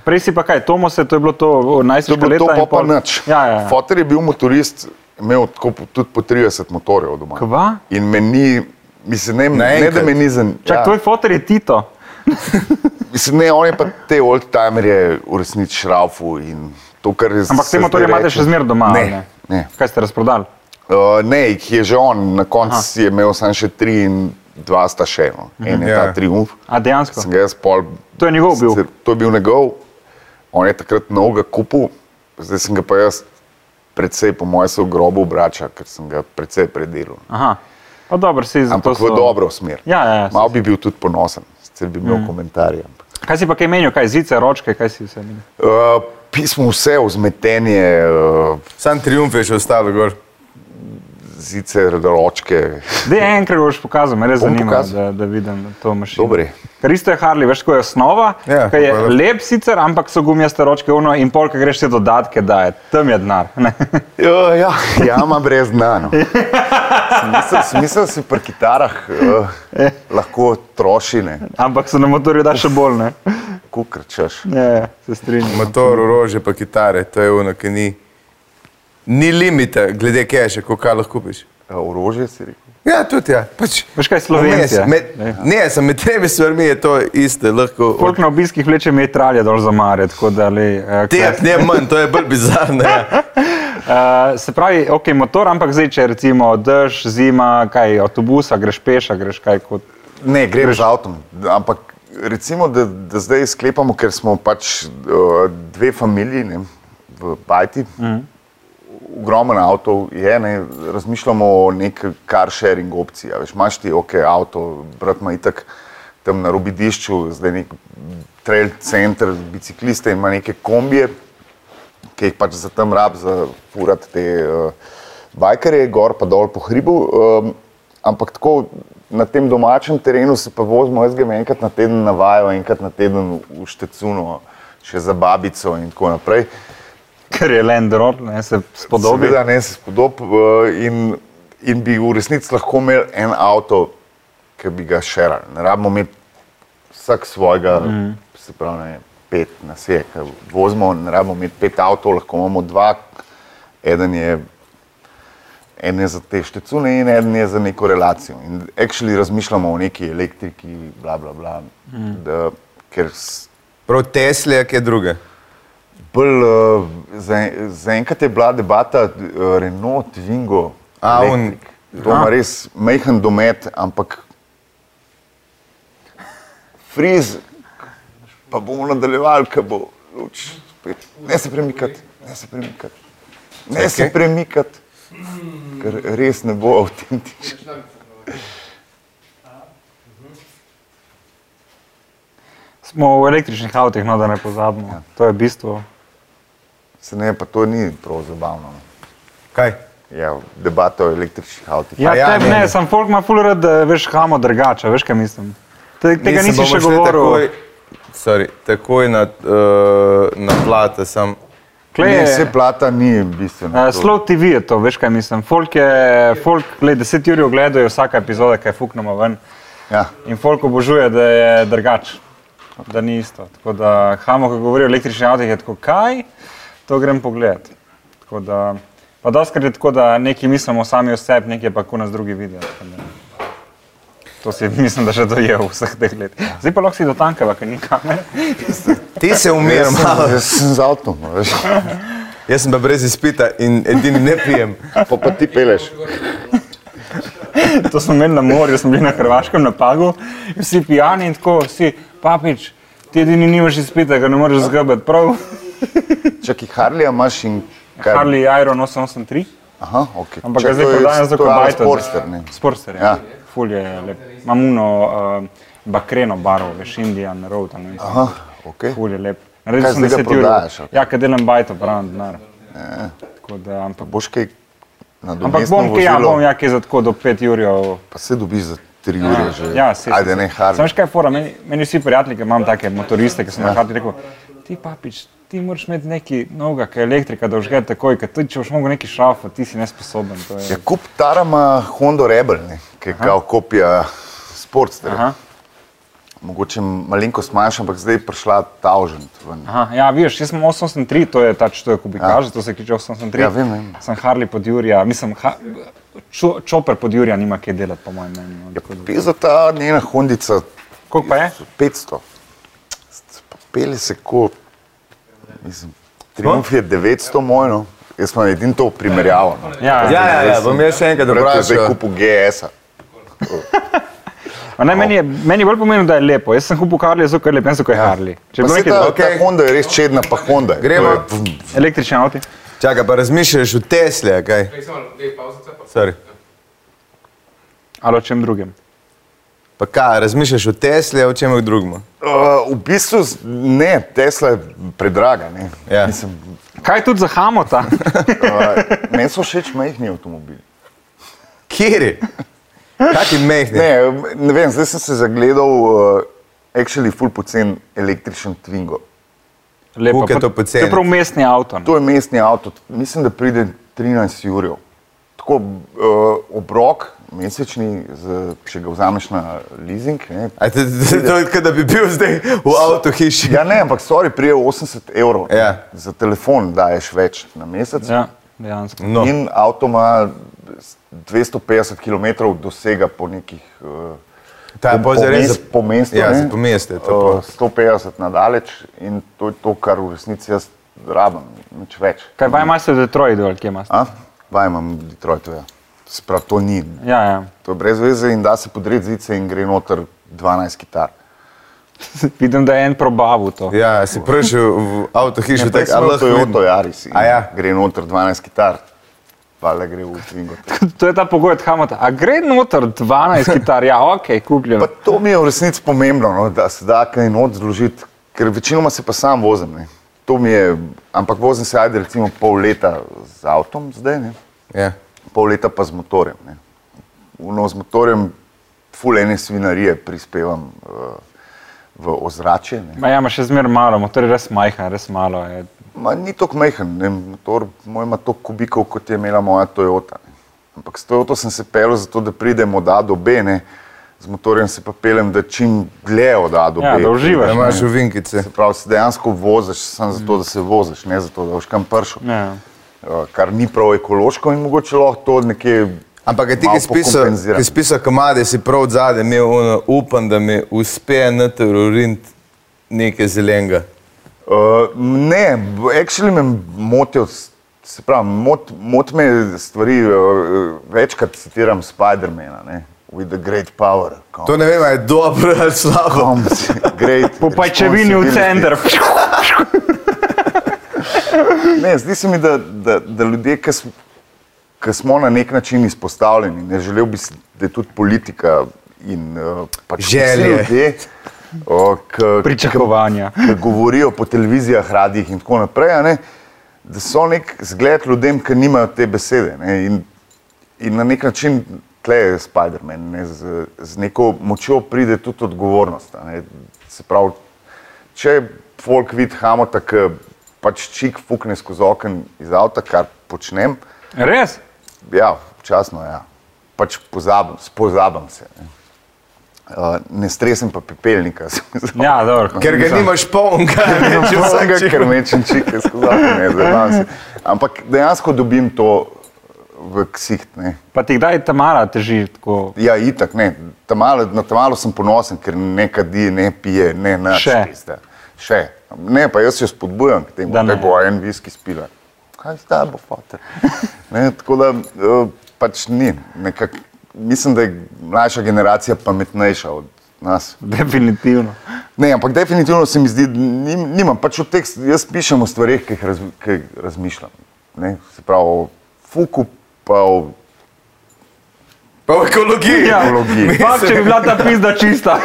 [SPEAKER 3] Prej si pa kaj, Tomose, to je bilo to
[SPEAKER 2] To je bilo
[SPEAKER 3] najstarejše
[SPEAKER 2] to,
[SPEAKER 3] leto.
[SPEAKER 2] pa
[SPEAKER 3] in
[SPEAKER 2] pa
[SPEAKER 3] pol.
[SPEAKER 2] nič.
[SPEAKER 3] Ja, ja. ja.
[SPEAKER 2] Fotor je bil motorist, imel tako po- tudi po 30 motorjev doma.
[SPEAKER 3] Kva?
[SPEAKER 2] In meni, mislim, ne, ne
[SPEAKER 1] Naenkrat.
[SPEAKER 2] da meni zanimivo.
[SPEAKER 3] Čak, ja. tvoj fotor je Tito.
[SPEAKER 2] Mislim, ne, on je pa te oldtimerje v resnici šraufu in to, kar je
[SPEAKER 3] Ampak te motorje imate še zmeraj doma. ali
[SPEAKER 2] Ne, ne.
[SPEAKER 3] Kaj ste razprodali?
[SPEAKER 2] Uh, ne, jih je že on, na koncu je imel samo še tri in dva sta še eno. En je
[SPEAKER 1] Ja.
[SPEAKER 2] ta triumf,
[SPEAKER 3] A dejansko?
[SPEAKER 2] sem ga jaz pol.
[SPEAKER 3] Mhm. To je njegov bil.
[SPEAKER 2] sicer- To je bil njegov, on je takrat novega kupil, zdaj sem ga pa jaz predvsej, po mojem, se v grobu obrača, ker sem ga predvsej predelal.
[SPEAKER 3] Aha. Pa dobro, si za to.
[SPEAKER 2] Ampak v
[SPEAKER 3] so-
[SPEAKER 2] dobro smer.
[SPEAKER 3] Ja, ja, Mhm. ja,
[SPEAKER 2] Mal bi bil tudi ponosen, sicer bi imel mm. komentarje. ampak-
[SPEAKER 3] Kaj si pa kaj menil, kaj zice, ročke, kaj si vse menil?
[SPEAKER 2] Uh, pismo vse, vzmetenje, uh,
[SPEAKER 1] Sam triumf je še ostal gor.
[SPEAKER 2] zice, ročke.
[SPEAKER 3] Dej enkrat boš pokazal, me res
[SPEAKER 2] Bom
[SPEAKER 3] zanima,
[SPEAKER 2] pokazal.
[SPEAKER 3] da, da vidim to mašino.
[SPEAKER 2] Dobre.
[SPEAKER 3] Ker isto je Harley, veš, ko je osnova,
[SPEAKER 1] Ja,
[SPEAKER 3] ki je
[SPEAKER 1] pa lep.
[SPEAKER 3] lep sicer, ampak so gumijaste ročke uno in pol, ki greš te dodatke daje, tam je denar. ne. *laughs*
[SPEAKER 2] Uh, ja, jama brez znano. Smisel si pri kitarah uh, lahko trošine,
[SPEAKER 3] ampak se na motorju da še bolj, ne?
[SPEAKER 2] kukrčeš.
[SPEAKER 3] Ja, ja, se strinjam.
[SPEAKER 1] Motor, orožje, pa kitare, to je ono, ki ni. Ni limita, glede keša, koliko kaj lahko kupiš.
[SPEAKER 2] eh, Orožje si rekel.
[SPEAKER 1] Ja, tudi ja. Pač,
[SPEAKER 3] Veš kaj, Slovencija.
[SPEAKER 1] vmes, Med, ne, sem med tremi stvarmi je to isto, lahko.
[SPEAKER 3] Folk na obiskih vleče metralje dol za mare, tako da le. eh,
[SPEAKER 1] Te,
[SPEAKER 3] kaj-
[SPEAKER 1] ne manj, to je bolj bizarno. Ja.
[SPEAKER 3] Eh, se pravi, ok, motor, ampak zdaj, če recimo dež, zima, kaj, avtobusa, greš peša, greš kaj kot.
[SPEAKER 2] Ne, greš z avtom. Ampak recimo, da, da zdaj sklepamo, ker smo pač uh, dve familiji ne, v Bajti. Mm. Ogromen avto je, ne, razmišljamo o neki car sharing opciji. a Veš, imaš ti ok avto, brat ima itak tam na robidišču, zdaj nek trail center, bicikliste ima neke kombije, ki jih pač za tam rab, za furati te uh, bajkerje, gor pa dol po hribu. Um, ampak tako na tem domačem terenu se pa vozimo, jaz grem enkrat na teden na vajo, enkrat na teden v štecuno, še za babico in tako naprej.
[SPEAKER 3] Ker je Land Rover, ne se spodobi.
[SPEAKER 2] Seveda ne se spodob uh, in, in bi v resnici lahko imeli en avto, ki bi ga šerali. Ne rabimo imeti vsak svojega, mm. se pravi, ne, vem, pet nas je, ki vozimo, ne rabimo imeti pet avtov, lahko imamo dva, eden je. En je za te štecune, in en je za neko relacijo. In actually razmišljamo o neki elektriki, bla, bla, bla, mm. da, ker s-
[SPEAKER 1] Prav Tesla, ki je druga.
[SPEAKER 2] Bolj, uh, za, zaenkrat je bila debata uh, Renault, Twingo,
[SPEAKER 1] A, un-
[SPEAKER 2] Electric. To ima res majhen domet, ampak friz, pa bomo nadaljevali, ko bo luč. spet. Ne se premikati, ne se premikati. Ne se
[SPEAKER 1] Čakaj.
[SPEAKER 2] premikati, ker res ne bo avtentičen.
[SPEAKER 3] Smo v električnih avtih, no da ne pozabimo. Ja. To je bistvo.
[SPEAKER 2] Se ne, pa to ni prav zabavno. no.
[SPEAKER 1] Kaj?
[SPEAKER 2] Ja, debata o električnih avtih.
[SPEAKER 3] Ja,
[SPEAKER 1] A ja,
[SPEAKER 3] ja tebi
[SPEAKER 1] ne.
[SPEAKER 3] ne, sem folk ima full rad, da veš hamo drugače, veš kaj mislim. Te, tega
[SPEAKER 1] Mislim,
[SPEAKER 3] nisi
[SPEAKER 1] bomo
[SPEAKER 3] še
[SPEAKER 1] šli Takoj,
[SPEAKER 3] govoril.
[SPEAKER 1] sorry, takoj na, uh, na plate sem.
[SPEAKER 3] Klej
[SPEAKER 2] Ne,
[SPEAKER 3] je-
[SPEAKER 2] se plata ni bistveno.
[SPEAKER 3] Uh, slow TV je to, veš kaj mislim. Folk je, folk, gled, deset ur ogledajo vsaka epizoda, kaj fuknemo ven.
[SPEAKER 2] Ja.
[SPEAKER 3] In folk obožuje, da je drugač, da ni isto. Tako da Hamo, ko govori o električnih avtomobilih, je tako, kaj, to grem pogledat. Tako da, pa doskrat je tako, da nekaj mislimo sami o sebi, nekaj pa ko nas drugi vidijo. tako da. To si mislim, da še dojel v vseh teh letih. Zdaj pa lahko si do tankava, ker ni kamere.
[SPEAKER 1] Ti se umir
[SPEAKER 2] Jaz sem-
[SPEAKER 1] malo.
[SPEAKER 2] Jaz sem z avtom, a veš.
[SPEAKER 1] Jaz sem pa brez izpita in edini ne pijem.
[SPEAKER 2] Pa, pa ti peleš.
[SPEAKER 3] *laughs* To smo imeli na morju, smo bili na Hrvaškem napagu, vsi pijani in tako, vsi papič, ti edini nimaš izpita, ga ne moreš zgabati. Prav,
[SPEAKER 2] Čakaj, Harlija imaš in kar.
[SPEAKER 3] Harley Iron 883,
[SPEAKER 2] Aha, ok.
[SPEAKER 3] ampak ga zdaj prodajam za kobajto.
[SPEAKER 2] Sporster, ne.
[SPEAKER 3] Sporster, ja.
[SPEAKER 2] Ja.
[SPEAKER 3] Ful je lep. Imam uno uh, bakreno barvo, veš, Indian Road, ali ne
[SPEAKER 2] Aha,
[SPEAKER 3] mislim.
[SPEAKER 2] ok.
[SPEAKER 3] Ful je lep. Naredil
[SPEAKER 2] Kaj
[SPEAKER 3] sem
[SPEAKER 2] zdaj ga
[SPEAKER 3] 10 ur.
[SPEAKER 2] prodajaš, Ja. ali kaj?
[SPEAKER 3] Ja, kaj delam bajto, pravim denar. Tako da, ampak,
[SPEAKER 2] Boš kaj
[SPEAKER 3] ampak
[SPEAKER 2] nadomestno
[SPEAKER 3] bom, kaj ja, bom,
[SPEAKER 2] vozilo?
[SPEAKER 3] ja, kaj za tako do 5 urjev.
[SPEAKER 2] Pa se dobiš za tri ure že.
[SPEAKER 3] Ja, se.
[SPEAKER 2] Ajde, ne,
[SPEAKER 3] Sam
[SPEAKER 2] Harlija.
[SPEAKER 3] veš kaj je fora, meni, meni vsi prijatelji, ki imam take motoriste, ki sem jih ja. rekel, ti papič, ti moraš imeti neki noga, ki je elektrika, da užge takoj, ker tudi če boš mogel neki šrafa, ti si nesposoben. to
[SPEAKER 2] Ja,
[SPEAKER 3] Je.
[SPEAKER 2] kup tarama Honda Rebel, ne, ki je kao kopija Sportstera.
[SPEAKER 3] Aha,
[SPEAKER 2] Mogoče malenkost manjša, ampak zdaj je prišla Tausend ven.
[SPEAKER 3] aha, ja, vidiš, jaz sem 883, to je ta čtoj kubikaža, to se kliče 883.
[SPEAKER 2] Ja, vem, vem.
[SPEAKER 3] Sem Harley pod Jurija, mislim, ha, čo, čoper pod Jurija nima kaj delati, po mojem mnenju. no,
[SPEAKER 2] Ja,
[SPEAKER 3] tako da-
[SPEAKER 2] Peza ta njena Hondica
[SPEAKER 3] Koliko pa je?
[SPEAKER 2] 500. Pa Peli se ko, mislim, Triumf je 900 moj, no. Jaz sem edin to primerjavo. No.
[SPEAKER 3] Ja,
[SPEAKER 1] Ja, ja, ja, bom jaz še enkrat
[SPEAKER 2] Brat je zdaj
[SPEAKER 1] vprašal.
[SPEAKER 2] kupil GS-a.
[SPEAKER 3] A Ne, meni, je, meni je bolj pomembno, da je lepo. Jaz sem kupil Harley, zato ker je lep, ne zato ker je Harley. Če
[SPEAKER 2] Ja. Pa
[SPEAKER 3] bi
[SPEAKER 2] se
[SPEAKER 3] rekel,
[SPEAKER 2] ta,
[SPEAKER 3] da
[SPEAKER 2] okay.
[SPEAKER 1] okej.
[SPEAKER 2] ta Honda je res čedna, pa Honda. je.
[SPEAKER 1] Gremo.
[SPEAKER 2] To je-
[SPEAKER 3] električni avto.
[SPEAKER 1] Čakaj, pa razmišljaš o Tesli, a kaj?
[SPEAKER 4] Prej samo dve pauzice. pa-
[SPEAKER 1] Sorry.
[SPEAKER 3] ali o čem drugem.
[SPEAKER 1] Pa kaj, razmišljaš o Tesli, a o čem drugem?
[SPEAKER 2] Uh, v bistvu z- ne, Tesla je predraga. ne.
[SPEAKER 1] Ja.
[SPEAKER 2] Mislim,
[SPEAKER 3] Kaj tudi za
[SPEAKER 2] *laughs* uh,
[SPEAKER 3] Hamota?
[SPEAKER 2] meni so všeč majhni avtomobili.
[SPEAKER 1] Kjeri? Kaj ti mehne?
[SPEAKER 2] Ne, ne vem, zdaj sem se zagledal, uh, actually, full pocen električen Twingo.
[SPEAKER 3] Lepo,
[SPEAKER 1] Koliko je to
[SPEAKER 3] pa-
[SPEAKER 1] poceni?
[SPEAKER 3] To je prav mestni avto. no. ne.
[SPEAKER 2] To je mestni avto, t- mislim, da pride 13 jurjev. Tako uh, obrok, mesečni, z, če ga vzameš na leasing. Ne.
[SPEAKER 1] A te- te- To je, kot da bi bil zdaj v avto hiši.
[SPEAKER 2] Ja, ne, ampak sorry, prije 80 evrov. ne.
[SPEAKER 1] Ja.
[SPEAKER 2] Za telefon daješ več na mesec.
[SPEAKER 3] Ja, dejansko.
[SPEAKER 1] No,
[SPEAKER 2] In avto ima s- 250 km dosega po nekih. eh,
[SPEAKER 1] ta je Ja, pa
[SPEAKER 2] po, po,
[SPEAKER 1] za res.
[SPEAKER 2] mest, po mestu.
[SPEAKER 1] Ja,
[SPEAKER 2] ne.
[SPEAKER 1] za po mestu je to
[SPEAKER 2] Eh, 150 na daleč in to je to, kar v resnici jaz rabim, nič več.
[SPEAKER 3] Kaj pa imaš v Detroitu, ali kje imaš?
[SPEAKER 2] A? Vaj imam v Detroitu, ja. Sprav, to ni,
[SPEAKER 3] Ja, ja.
[SPEAKER 2] to je brez veze in da se podredi zice in gre noter 12 kitar.
[SPEAKER 3] Vidim, da je en probavu to.
[SPEAKER 1] Ja, si prišel v avto hišo, tako
[SPEAKER 2] Prej sem
[SPEAKER 1] ali
[SPEAKER 2] imel
[SPEAKER 1] lahko. vidim?
[SPEAKER 2] no, Toyota Yaris in
[SPEAKER 1] A ja.
[SPEAKER 2] gre noter 12 kitar. Vale gre v Twingo.
[SPEAKER 3] *laughs* To je ta pogoj od Hamota. A gre noter 12 kitar, ja, ok, kupljeno.
[SPEAKER 2] Pa to mi je v resnici pomembno, no, da se da kaj not zložiti, ker večinoma se pa sam vozim. Ne. To mi je, ampak vozim se ajde recimo pol leta z avtom zdaj, ne.
[SPEAKER 1] Ja.
[SPEAKER 2] pol leta pa z motorjem. Ne. No, z motorjem fulene svinarije prispevam uh, v ozračje. Ne.
[SPEAKER 3] Ma ja, ima še zmer malo, motor je res majhen, res malo. Je.
[SPEAKER 2] Ma, ni tako mehen, ne. motor moj ima toliko kubikov, kot je imela moja Toyota. Ne. Ampak s Toyoto sem se pel zato, da pridem od A do B, ne. z motorjem se pa pelem, da čim dlje od A do
[SPEAKER 3] Ja,
[SPEAKER 2] B.
[SPEAKER 3] da uživaš.
[SPEAKER 1] Da imaš
[SPEAKER 3] ne.
[SPEAKER 1] uvinkice.
[SPEAKER 2] Se pravi, se dejansko voziš samo zato, da se voziš, ne zato, da boš kam prišel.
[SPEAKER 3] Ja.
[SPEAKER 2] Eh, Kar ni prav ekološko in mogoče lahko to nekje.
[SPEAKER 1] Ampak a ti,
[SPEAKER 2] malo
[SPEAKER 1] ki spisal,
[SPEAKER 2] pokompenzira.
[SPEAKER 1] ki spisal komade, si prav od zadaj imel ono, upam, da mi uspe na terorint nekaj zelenega.
[SPEAKER 2] Eh, ne, b- actually me motijo, s- se pravi, mot, mot me stvari, eh, večkrat citiram Spidermana, ne, with the great power. comes-
[SPEAKER 1] To ne vem, a je dobro ali slabo.
[SPEAKER 2] comes great
[SPEAKER 3] Po pajčevini v
[SPEAKER 2] responsibility.
[SPEAKER 3] center. *laughs*
[SPEAKER 2] Ne, zdi se mi, da, da, da ljudje, ki smo, ki smo na nek način izpostavljeni, ne želel bi, si, da je tudi politika in eh, pač vsi
[SPEAKER 1] Želje.
[SPEAKER 2] ljudje, eh, o, ki,
[SPEAKER 3] Pričakovanja.
[SPEAKER 2] ki govorijo po televizijah, radijih in tako naprej, a ne, da so nek zgled ljudem, ki nimajo te besede. Ne, in, in na nek način tle je Spider-Man, ne, z, z neko močjo pride tudi odgovornost. a Ne, se pravi, če folk vidi hamota, ki pač čik fukne skozi okno iz avta, kar počnem,
[SPEAKER 3] Res?
[SPEAKER 2] ja, občasno ja. Pač pozabim, pozabim se. Ne. Uh, ne stresim pa pepelnika. *laughs* se mi zdi.
[SPEAKER 3] Ja, dobro.
[SPEAKER 1] Ker ga nimaš polnega, več
[SPEAKER 2] Vsega,
[SPEAKER 1] vsega.
[SPEAKER 2] ker mečem čike skozi, ne zabavam se. Ampak dejansko dobim to v ksiht. Ne.
[SPEAKER 3] Pa ti kdaj ta mala teži tako?
[SPEAKER 2] Ja, itak, ne. Tamale, na tamalo sem ponosen, ker ne kadi, ne pije, ne naš.
[SPEAKER 3] Še.
[SPEAKER 2] Še. Ne, pa jaz jo spodbujam k temu,
[SPEAKER 3] Da
[SPEAKER 2] da
[SPEAKER 3] ne.
[SPEAKER 2] bo en viski spila. Kaj z tabo, fotor? *laughs* Ne, tako da eh, pač ni. Nekak, mislim, da je mlajša generacija pametnejša od nas.
[SPEAKER 3] Definitivno.
[SPEAKER 2] Ne, ampak definitivno se mi zdi, da nim, nimam pač v tekstu, jaz pišem o stvarih, ki jih, raz, ki jih razmišljam. Ne? Se pravi, o fuku, pa o
[SPEAKER 1] Pa v ekologiji.
[SPEAKER 3] Ja,
[SPEAKER 2] ekologiji.
[SPEAKER 3] pa če bi bila ta pizda čista.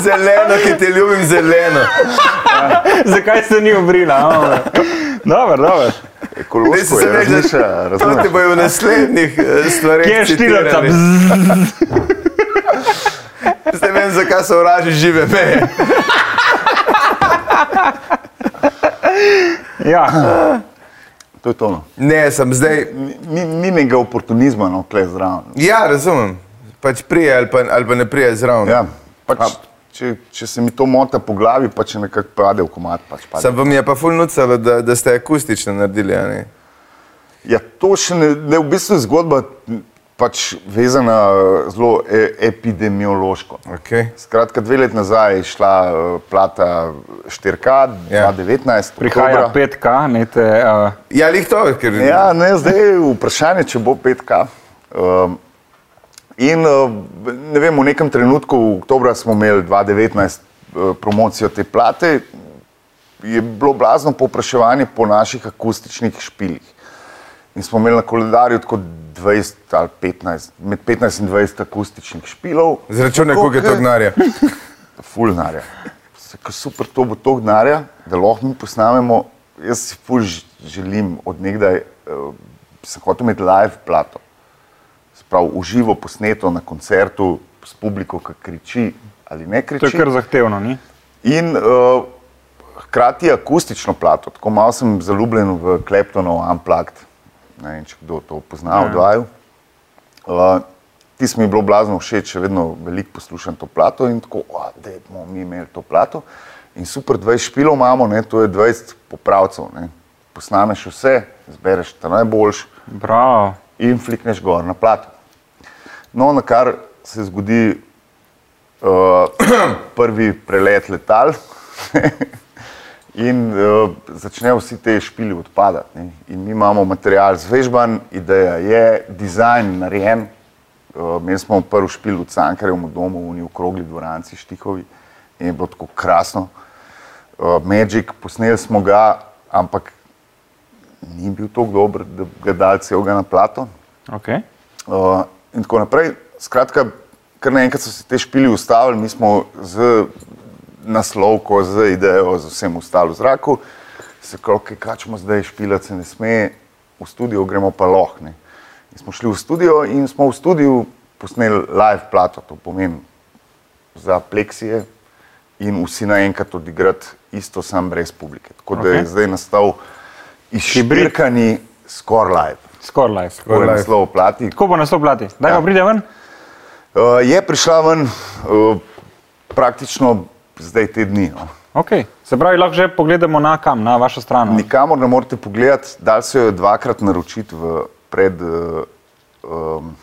[SPEAKER 1] Zeleno, ki te ljubim, zeleno.
[SPEAKER 3] *laughs* Zakaj se ni obrila? no? a? Dobro,
[SPEAKER 1] Zdaj
[SPEAKER 3] dobro.
[SPEAKER 1] si
[SPEAKER 2] ekološko
[SPEAKER 1] se
[SPEAKER 2] je
[SPEAKER 1] rekel, *laughs* To
[SPEAKER 2] razmišlja, razumeš?
[SPEAKER 1] ti bojo v naslednjih eh, stvareh.
[SPEAKER 3] Kje je
[SPEAKER 1] citirali.
[SPEAKER 3] štirica?
[SPEAKER 1] Zdaj vem, zakaj so vraži žive meje.
[SPEAKER 3] Ja,
[SPEAKER 2] To je to. No.
[SPEAKER 1] Ne, sem zdaj.
[SPEAKER 2] Ni- Ni, ni nekega oportunizma, no, kle zraven.
[SPEAKER 1] Ja, razumem. Pač prije ali pa, ali pa ne prije zraven.
[SPEAKER 2] Ja, pač, če, če se mi to mota po glavi, pa če nekako pade v komat, pač pade.
[SPEAKER 1] Sam vam je pa ful nucalo, da, da ste akustično naredili. a ne?
[SPEAKER 2] Ja, to še ne, ne v bistvu je zgodba m, pač vezana eh, zelo e, epidemiološko.
[SPEAKER 1] Okay.
[SPEAKER 2] Skratka, dve leti nazaj je šla eh, plata 4K,
[SPEAKER 1] Ja.
[SPEAKER 2] 2019,
[SPEAKER 3] prihaja
[SPEAKER 2] oktobra.
[SPEAKER 3] 5K, ne te. Uh,
[SPEAKER 1] Ja, lih to, ker
[SPEAKER 2] Ja, ne, zdaj je vprašanje, če bo 5K. Um, in um, ne vem, v nekem trenutku, v oktobru smo imeli 2019 eh, promocijo te plate, je bilo blazno povpraševanje po naših akustičnih špilih. In smo imeli na koledarju tako 20 ali 15, med 15 in 20 akustičnih špilov.
[SPEAKER 1] zračunaj,
[SPEAKER 2] Tako,
[SPEAKER 1] koliko je to
[SPEAKER 2] ke-
[SPEAKER 1] gnarja.
[SPEAKER 2] fulnarja. Super, to bo to gnarja, da lahko mi posnamemo. Jaz si ful ž- želim odnegdaj, uh, sem hotel imeti live plato. Sprav, uživo posneto na koncertu s publiko, ki kriči ali ne kriči.
[SPEAKER 3] to je kar zahtevno, ni?
[SPEAKER 2] In uh, hkrati akustično plato, tako malo sem zaljubljen v Kleptonov Unplugged. Ne vem, če kdo to pozna,
[SPEAKER 3] Ja.
[SPEAKER 2] od vaju. Uh, ti smo mi bilo blazno všeč, še vedno veliko poslušam to plato in tako, da bomo mi imeli to plato. In super, 20 špilov imamo, ne, to je 20 popravcev. Ne. Posnameš vse, zbereš ta najboljši
[SPEAKER 3] Bravo.
[SPEAKER 2] in flikneš gor na plato. No, na kar se zgodi uh, *clears throat* prvi prelet letal *laughs* in uh, začnejo vsi te špili odpadati. Ne? In mi imamo material zvežban, ideja je, dizajn narejen. Uh, mi smo prvi špil v Cankarjevem domu, v njih okrogli dvoranci, štihovi in je bilo tako krasno. Uh, Magic, posneli smo ga, ampak ni bil tako dober, da bi ga dal celega na plato.
[SPEAKER 3] Okay.
[SPEAKER 2] Uh, in tako naprej. Skratka, kar naenkrat so se te špili ustavili, mi smo z naslovko, z idejo, z vsem ustali v zraku. Se kroke, kačemo zdaj, špilat se ne sme, v studio gremo pa lohne. In smo šli v studio in smo v studiu posneli live plato, to pomeni za pleksije in vsi naenkrat odigrati isto, sam brez publike. Tako da je
[SPEAKER 3] Okej.
[SPEAKER 2] zdaj nastal izšpirkani skoraj live.
[SPEAKER 3] Skoraj.
[SPEAKER 2] To je
[SPEAKER 1] live.
[SPEAKER 2] naslov plati.
[SPEAKER 3] Tako bo naslov plati. Da ga
[SPEAKER 2] Ja.
[SPEAKER 3] ja. pride ven?
[SPEAKER 2] Uh, je prišla ven uh, praktično zdaj te dni. No.
[SPEAKER 3] Okay. Se pravi, lahko že pogledamo na kam, na vašo stran. no.
[SPEAKER 2] Nikamor ne morete pogledati, da se jo je dvakrat naročiti v, pred, uh, um,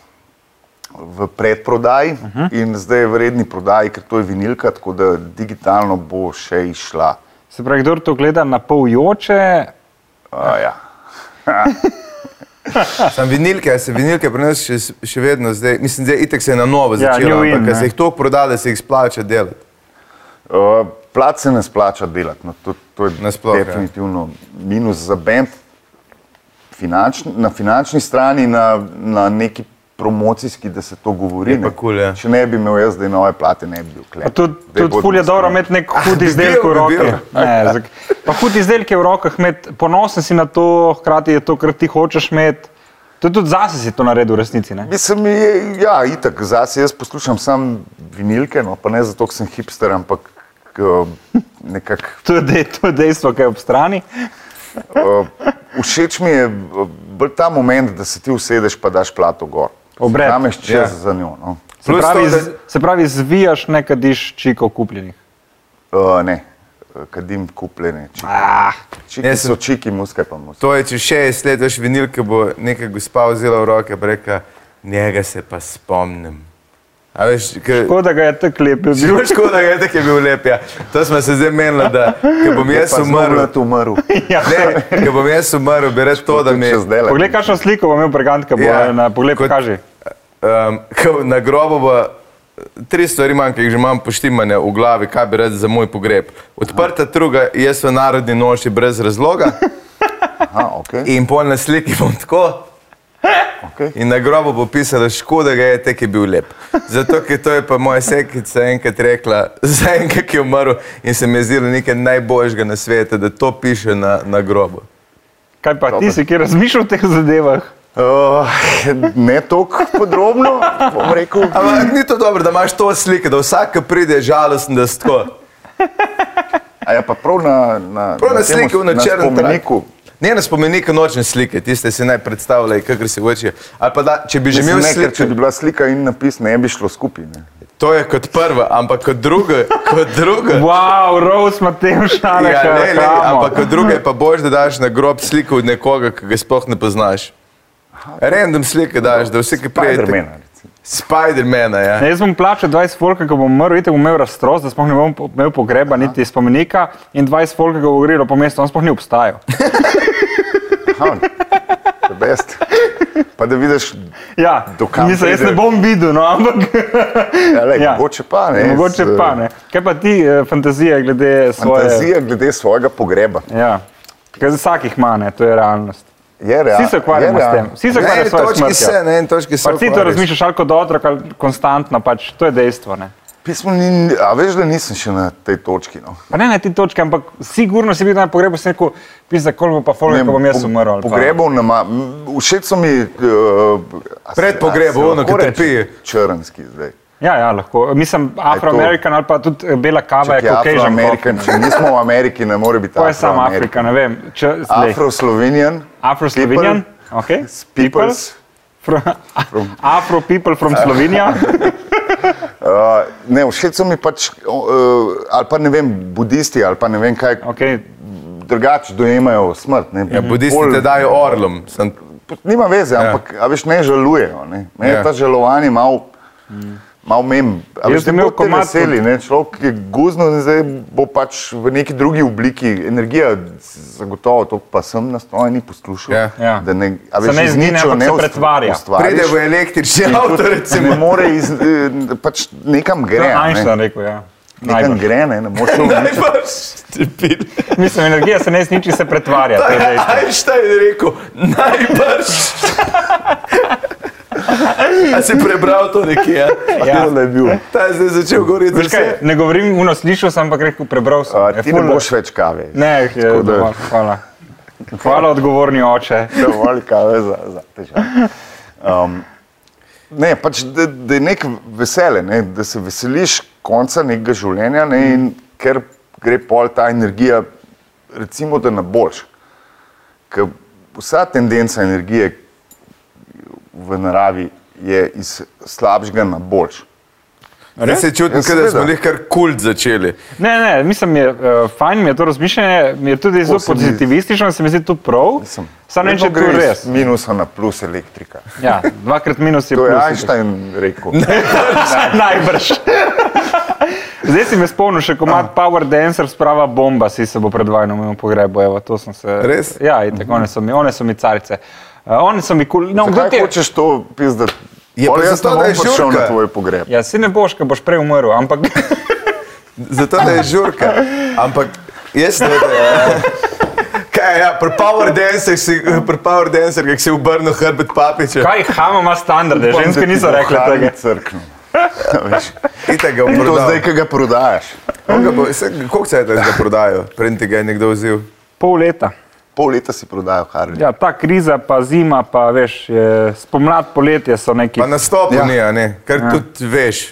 [SPEAKER 2] v predprodaji uh -huh. in zdaj je v redni prodaji, ker to je vinilka, tako da digitalno bo še išla.
[SPEAKER 3] Se pravi, kdo to gleda na pol joče,
[SPEAKER 2] Uh, ja.
[SPEAKER 1] Sam vinilke, a se vinilke pri nas še, še vedno zdaj, mislim, da itek se je na novo
[SPEAKER 3] Ja,
[SPEAKER 1] začelo,
[SPEAKER 3] new in,
[SPEAKER 1] ampak a
[SPEAKER 3] ne.
[SPEAKER 1] se jih toliko proda, da se jih splača delati.
[SPEAKER 2] Uh, Plat se ne splača delati, no, to, to je
[SPEAKER 1] Nasploh, ja.
[SPEAKER 2] definitivno ja. minus za bend. Finančni, na finančni strani, na, na neki promocijski, da se to govori.
[SPEAKER 1] Je pa
[SPEAKER 2] ne.
[SPEAKER 1] kul, ja.
[SPEAKER 2] Če ne bi imel jaz zdaj nove plate, ne bi bil
[SPEAKER 3] Pa
[SPEAKER 2] klep.
[SPEAKER 3] tudi,
[SPEAKER 2] Zdaj
[SPEAKER 3] tudi
[SPEAKER 2] bodo
[SPEAKER 3] ful je
[SPEAKER 2] nasprotno.
[SPEAKER 3] dobro imeti nek hud
[SPEAKER 1] bi
[SPEAKER 3] izdelek
[SPEAKER 1] *laughs* bil, Ja.
[SPEAKER 3] v
[SPEAKER 1] bi
[SPEAKER 3] roki.
[SPEAKER 1] bil. *laughs*
[SPEAKER 3] Ne, zak- Pa hud izdelek je v rokah, imeti, ponosen si na to, hkrati je to, kar ti hočeš imeti. To je Tudi zase si to naredil v resnici. Ne?
[SPEAKER 2] Mislim, je, ja, itak, zase jaz poslušam sam vinilke, no, pa ne zato, ker sem hipster, ampak eh, nekako
[SPEAKER 3] To je, dej, to je dejstvo, ki je ob strani.
[SPEAKER 2] eh, všeč mi je eh, bolj ta moment, da se ti usedeš pa daš plato gor.
[SPEAKER 3] Obred.
[SPEAKER 2] Nameš čez
[SPEAKER 1] Ja.
[SPEAKER 2] ja. za njo. No.
[SPEAKER 3] Se
[SPEAKER 1] Plus to,
[SPEAKER 3] pravi,
[SPEAKER 1] da-
[SPEAKER 3] z- se pravi, zvijaš nekaj diš čiko kupljenih.
[SPEAKER 2] Uh, ne, Eh, kadim kupljene. čiki.
[SPEAKER 3] Ah,
[SPEAKER 2] Čiki
[SPEAKER 1] Jaz sem-
[SPEAKER 2] so čiki, muske pa muske.
[SPEAKER 1] To je, če še šest let veš vinilke, bo neka gospa vzela v roke in rekla, njega se pa spomnim. A veš, ker...
[SPEAKER 3] Tako da ga je tako lepo bil.
[SPEAKER 1] Bilo je *laughs* škoda, da je tako je bil lep. Ja. To smo se zdaj menili, da ko bom jaz umrl,
[SPEAKER 2] Umrl,
[SPEAKER 3] *laughs*
[SPEAKER 2] umrl.
[SPEAKER 3] *laughs* Ja.
[SPEAKER 1] ne, ko bom jaz umrl, bi rekel to, da mi je
[SPEAKER 2] zdaj.
[SPEAKER 3] Poglej, kakšno sliko bo imel Bregantka, bo
[SPEAKER 1] Ja.
[SPEAKER 3] ja, na pogled
[SPEAKER 1] Kot-
[SPEAKER 3] pokaže.
[SPEAKER 1] Um, ko na grobu bo tri stvari manj, ki jih že imam poštimane v glavi, kaj bi rekel za moj pogreb. Odprta druga, jaz v narodni noči brez razloga
[SPEAKER 2] Aha, okay,
[SPEAKER 1] in pol na sliki bom tako.
[SPEAKER 2] okay.
[SPEAKER 1] In na grobu bo pisala, škoda ga je, tek je bil lep. Zato, ker to je pa moja sekica enkrat rekla, *laughs* za enkrat, ki je umrl in se mi je zdelo nekaj najboljšega na svetu, da to piše na, na grobu.
[SPEAKER 3] Kaj pa ti
[SPEAKER 2] Dobro.
[SPEAKER 3] si, ki razmišljaš o teh zadevah?
[SPEAKER 2] Uh, ne tako podrobno, bom rekel.
[SPEAKER 1] Ampak ni to dobro, da imaš to sliko, da vsak, ki pride, je žalosten, da si tako.
[SPEAKER 2] A je pa prav na, na,
[SPEAKER 1] Prav na sliki v načrnem
[SPEAKER 2] spomeniku.
[SPEAKER 1] Ne na spomeniku nočne slike, tiste si naj predstavljaj, kakor se hoče. Ali pa da, če bi že
[SPEAKER 2] Mislim,
[SPEAKER 1] imel
[SPEAKER 2] ne, ker Če
[SPEAKER 1] sliko,
[SPEAKER 2] bi bila slika in napis, ne bi šlo skupaj. Ne.
[SPEAKER 1] to je kot prva, ampak kot druga, kot druga.
[SPEAKER 3] Wow, Rose Matejš, ali
[SPEAKER 1] Ja, ne, ne, ampak kot druga
[SPEAKER 3] *laughs*
[SPEAKER 1] je pa boš, da daš na grob sliko od nekoga, ki ga sploh ne poznaš. Random slike daš, da vsi, ki prijedo.
[SPEAKER 2] Spidermana. recimo.
[SPEAKER 1] Spidermana, ja.
[SPEAKER 3] Ne, jaz bom plačal 20 folka, ko bom umrl, itek bom imel razstroz, da sploh ne bom po- imel pogreba, Aha. niti spomenika in 20 folka, ko bo gorilo po mestu, on sploh ni obstajal.
[SPEAKER 2] Aha, the best. Pa da vidiš,
[SPEAKER 3] Ja,
[SPEAKER 2] Do kam
[SPEAKER 3] mislim, jaz ne
[SPEAKER 2] pride?
[SPEAKER 3] bom videl, no,
[SPEAKER 2] *laughs*
[SPEAKER 3] ampak
[SPEAKER 2] ja, lej,
[SPEAKER 3] Ja.
[SPEAKER 2] ja. mogoče pa ne.
[SPEAKER 3] mogoče
[SPEAKER 2] z-
[SPEAKER 3] pa ne. Kaj pa ti eh, fantazije glede svoje?
[SPEAKER 2] Fantazija glede svojega pogreba.
[SPEAKER 3] Ja, ker vsakih ima, ne, to je realnost.
[SPEAKER 2] Je rea-
[SPEAKER 3] Vsi se ukvarjamo
[SPEAKER 2] je
[SPEAKER 3] s
[SPEAKER 2] rea-
[SPEAKER 3] tem, vsi se
[SPEAKER 1] Na
[SPEAKER 3] ukvarjamo
[SPEAKER 1] eni
[SPEAKER 3] s svojo
[SPEAKER 1] točki se,
[SPEAKER 3] smrtjo.
[SPEAKER 1] na eni točki se.
[SPEAKER 3] ja. Pa ti to
[SPEAKER 1] ukvarjaš.
[SPEAKER 3] razmišljaš ali kot otrok ali konstantno, pač to je dejstvo. Ne?
[SPEAKER 2] Pismo ni, a veš, da nisem še na tej točki. No.
[SPEAKER 3] Pa ne na ti točki, ampak sigurno si bil na pogrebu, si rekel, pisa, koliko bo pa folga, ko bom jaz umrl. ali pa-
[SPEAKER 2] Pogrebov nam všeč so mi. Uh,
[SPEAKER 1] Pred pogrebom, ono, ki trpi.
[SPEAKER 2] Črnski zdaj.
[SPEAKER 3] Ja, ja, lahko. Mislim, afroamerikan ali pa tudi eh, bela kava je
[SPEAKER 2] Afrika,
[SPEAKER 3] kokažen.
[SPEAKER 2] Amerika, če nismo v Ameriki, ne more biti.
[SPEAKER 3] To je samo
[SPEAKER 2] Afroamerikan.
[SPEAKER 3] Afrika, ne vem. Če- lej.
[SPEAKER 2] Afro-Slovenian.
[SPEAKER 3] Afro-Slovenian,
[SPEAKER 2] people,
[SPEAKER 3] okay.
[SPEAKER 2] s Peoples.
[SPEAKER 3] From,
[SPEAKER 2] From-
[SPEAKER 3] *laughs* Afro people from Slovenija.
[SPEAKER 2] Uh, ne, všeč so mi pač, uh, ali pa ne vem, budisti ali pa ne vem kaj, *laughs* okay.
[SPEAKER 3] Okay.
[SPEAKER 2] drugače dojemajo smrt. Ne,
[SPEAKER 1] Ja, budisti
[SPEAKER 2] Bolj-
[SPEAKER 1] te dajo orlom. Sem,
[SPEAKER 2] Nima veze, ja. ampak a veš, ne žalujejo. Ne. Mene
[SPEAKER 1] Ja.
[SPEAKER 2] ja. ta žalovanje malo
[SPEAKER 3] Mm.
[SPEAKER 2] mal mem. A
[SPEAKER 3] Jaz
[SPEAKER 2] Veš,
[SPEAKER 3] sem
[SPEAKER 2] ne bo
[SPEAKER 3] imel
[SPEAKER 2] te
[SPEAKER 3] komad
[SPEAKER 2] veseli, ne. človek je guzno in zdaj bo pač v neki drugi obliki energija, zagotovo to pa sem nastrojen in poslušal.
[SPEAKER 1] Ja.
[SPEAKER 3] Ja.
[SPEAKER 2] Da ne, a
[SPEAKER 3] Se
[SPEAKER 2] veš,
[SPEAKER 3] ne
[SPEAKER 2] iz
[SPEAKER 3] izgine,
[SPEAKER 2] ničo
[SPEAKER 3] ampak se
[SPEAKER 2] ust-
[SPEAKER 3] pretvarja.
[SPEAKER 2] ustvariš.
[SPEAKER 1] pride v električni avto, recimo.
[SPEAKER 2] Ne more iz, eh, pač nekam
[SPEAKER 3] To
[SPEAKER 2] gre.
[SPEAKER 3] je
[SPEAKER 2] a Ne.
[SPEAKER 3] Einstein rekel, ja.
[SPEAKER 2] Nekam
[SPEAKER 3] Najbrž.
[SPEAKER 2] gre, ne, ne moreš v
[SPEAKER 1] Kaj
[SPEAKER 2] nič.
[SPEAKER 1] paš, debil?
[SPEAKER 3] Mislim, energija se ne izniči, se
[SPEAKER 2] *laughs*
[SPEAKER 3] pretvarja. to je dejstvo.
[SPEAKER 1] Einstein je rekel, najbrž.
[SPEAKER 3] *laughs*
[SPEAKER 1] A si prebral to nekje? Ja?
[SPEAKER 3] Ja.
[SPEAKER 2] Tako da je bil.
[SPEAKER 1] Ta je zdaj začel govoriti.
[SPEAKER 3] Veš kaj,
[SPEAKER 1] vse.
[SPEAKER 3] Ne govorim, uno slišal sem, ampak rekel, prebral sem.
[SPEAKER 2] A,
[SPEAKER 3] Je
[SPEAKER 2] Ti ne
[SPEAKER 3] ful-
[SPEAKER 2] boš več kave.
[SPEAKER 3] Ne, je,
[SPEAKER 2] da-
[SPEAKER 3] dovolj, hvala. Hvala, odgovorni oče.
[SPEAKER 2] dovolj kave za, za težave. Um, ne, pač, da, da je nek vesele, ne, da se veseliš konca nekega življenja, ne, in ker gre pol ta energija, recimo, da na boljš. Ker vsa tendenca energije v naravi je iz slabšega na boljš.
[SPEAKER 1] Zdaj se čutim,
[SPEAKER 2] Ja,
[SPEAKER 1] kot da smo
[SPEAKER 2] seveda.
[SPEAKER 1] jih kar kult začeli.
[SPEAKER 3] Ne, ne, mislim, je, uh, fajn mi je to razmišljanje, mi je tudi zelo
[SPEAKER 2] se mi-
[SPEAKER 3] pozitivistično, se mi zdi to prav.
[SPEAKER 2] Mislim,
[SPEAKER 3] Sam ne vem, če je to
[SPEAKER 2] vedno gre iz
[SPEAKER 3] res.
[SPEAKER 2] Minusa na plus
[SPEAKER 3] *laughs*
[SPEAKER 2] elektrika.
[SPEAKER 3] Ja, dvakrat minus je
[SPEAKER 2] To je
[SPEAKER 3] plus.
[SPEAKER 2] Einstein rekel.
[SPEAKER 3] *laughs* Najbrž. Zdaj si me spomnil še komat
[SPEAKER 2] Ah.
[SPEAKER 3] Power Dancer, sprava bomba, si se bo predvajal na pogrebu, evo, to sem se.
[SPEAKER 1] Res?
[SPEAKER 3] Ja, in tako, one so mi, one so mi carice. Uh, one so mi kul, cool. no, kdo
[SPEAKER 2] Zakaj
[SPEAKER 3] ti je?
[SPEAKER 2] hočeš to pizdati?
[SPEAKER 1] Je
[SPEAKER 2] Pol
[SPEAKER 1] pa
[SPEAKER 2] jaz
[SPEAKER 1] zato,
[SPEAKER 2] ne
[SPEAKER 1] da je
[SPEAKER 2] bom prišel
[SPEAKER 1] žurka.
[SPEAKER 2] na tvoj pogreb.
[SPEAKER 3] Ja, si ne boš, ker boš prej umrl, ampak *laughs*
[SPEAKER 1] Zato da je žurka. Ampak jaz ne vem. Kaj, ja, pri Power Dancer, si- pri Power Dancer, ki si obrnil hrbet papiča.
[SPEAKER 3] kaj hama ima standarde, ženske niso rekle tega. *laughs*
[SPEAKER 2] Crkno.
[SPEAKER 1] Itak ga bo
[SPEAKER 2] In Ja, to
[SPEAKER 1] prodal.
[SPEAKER 2] zdaj, ki ga prodajaš.
[SPEAKER 1] On ga bo- saj, Koliko se je tega prodajo, preden ti ga je nekdo vzel?
[SPEAKER 3] Pol leta.
[SPEAKER 2] Pol leta si prodajal Harley.
[SPEAKER 3] Ja, ta kriza, pa zima, pa veš, je, spomlad, poletje so neki.
[SPEAKER 1] Pa
[SPEAKER 3] *laughs*
[SPEAKER 1] nastopu ja.
[SPEAKER 2] Ja.
[SPEAKER 1] ni, a ne? kar ja. tudi veš,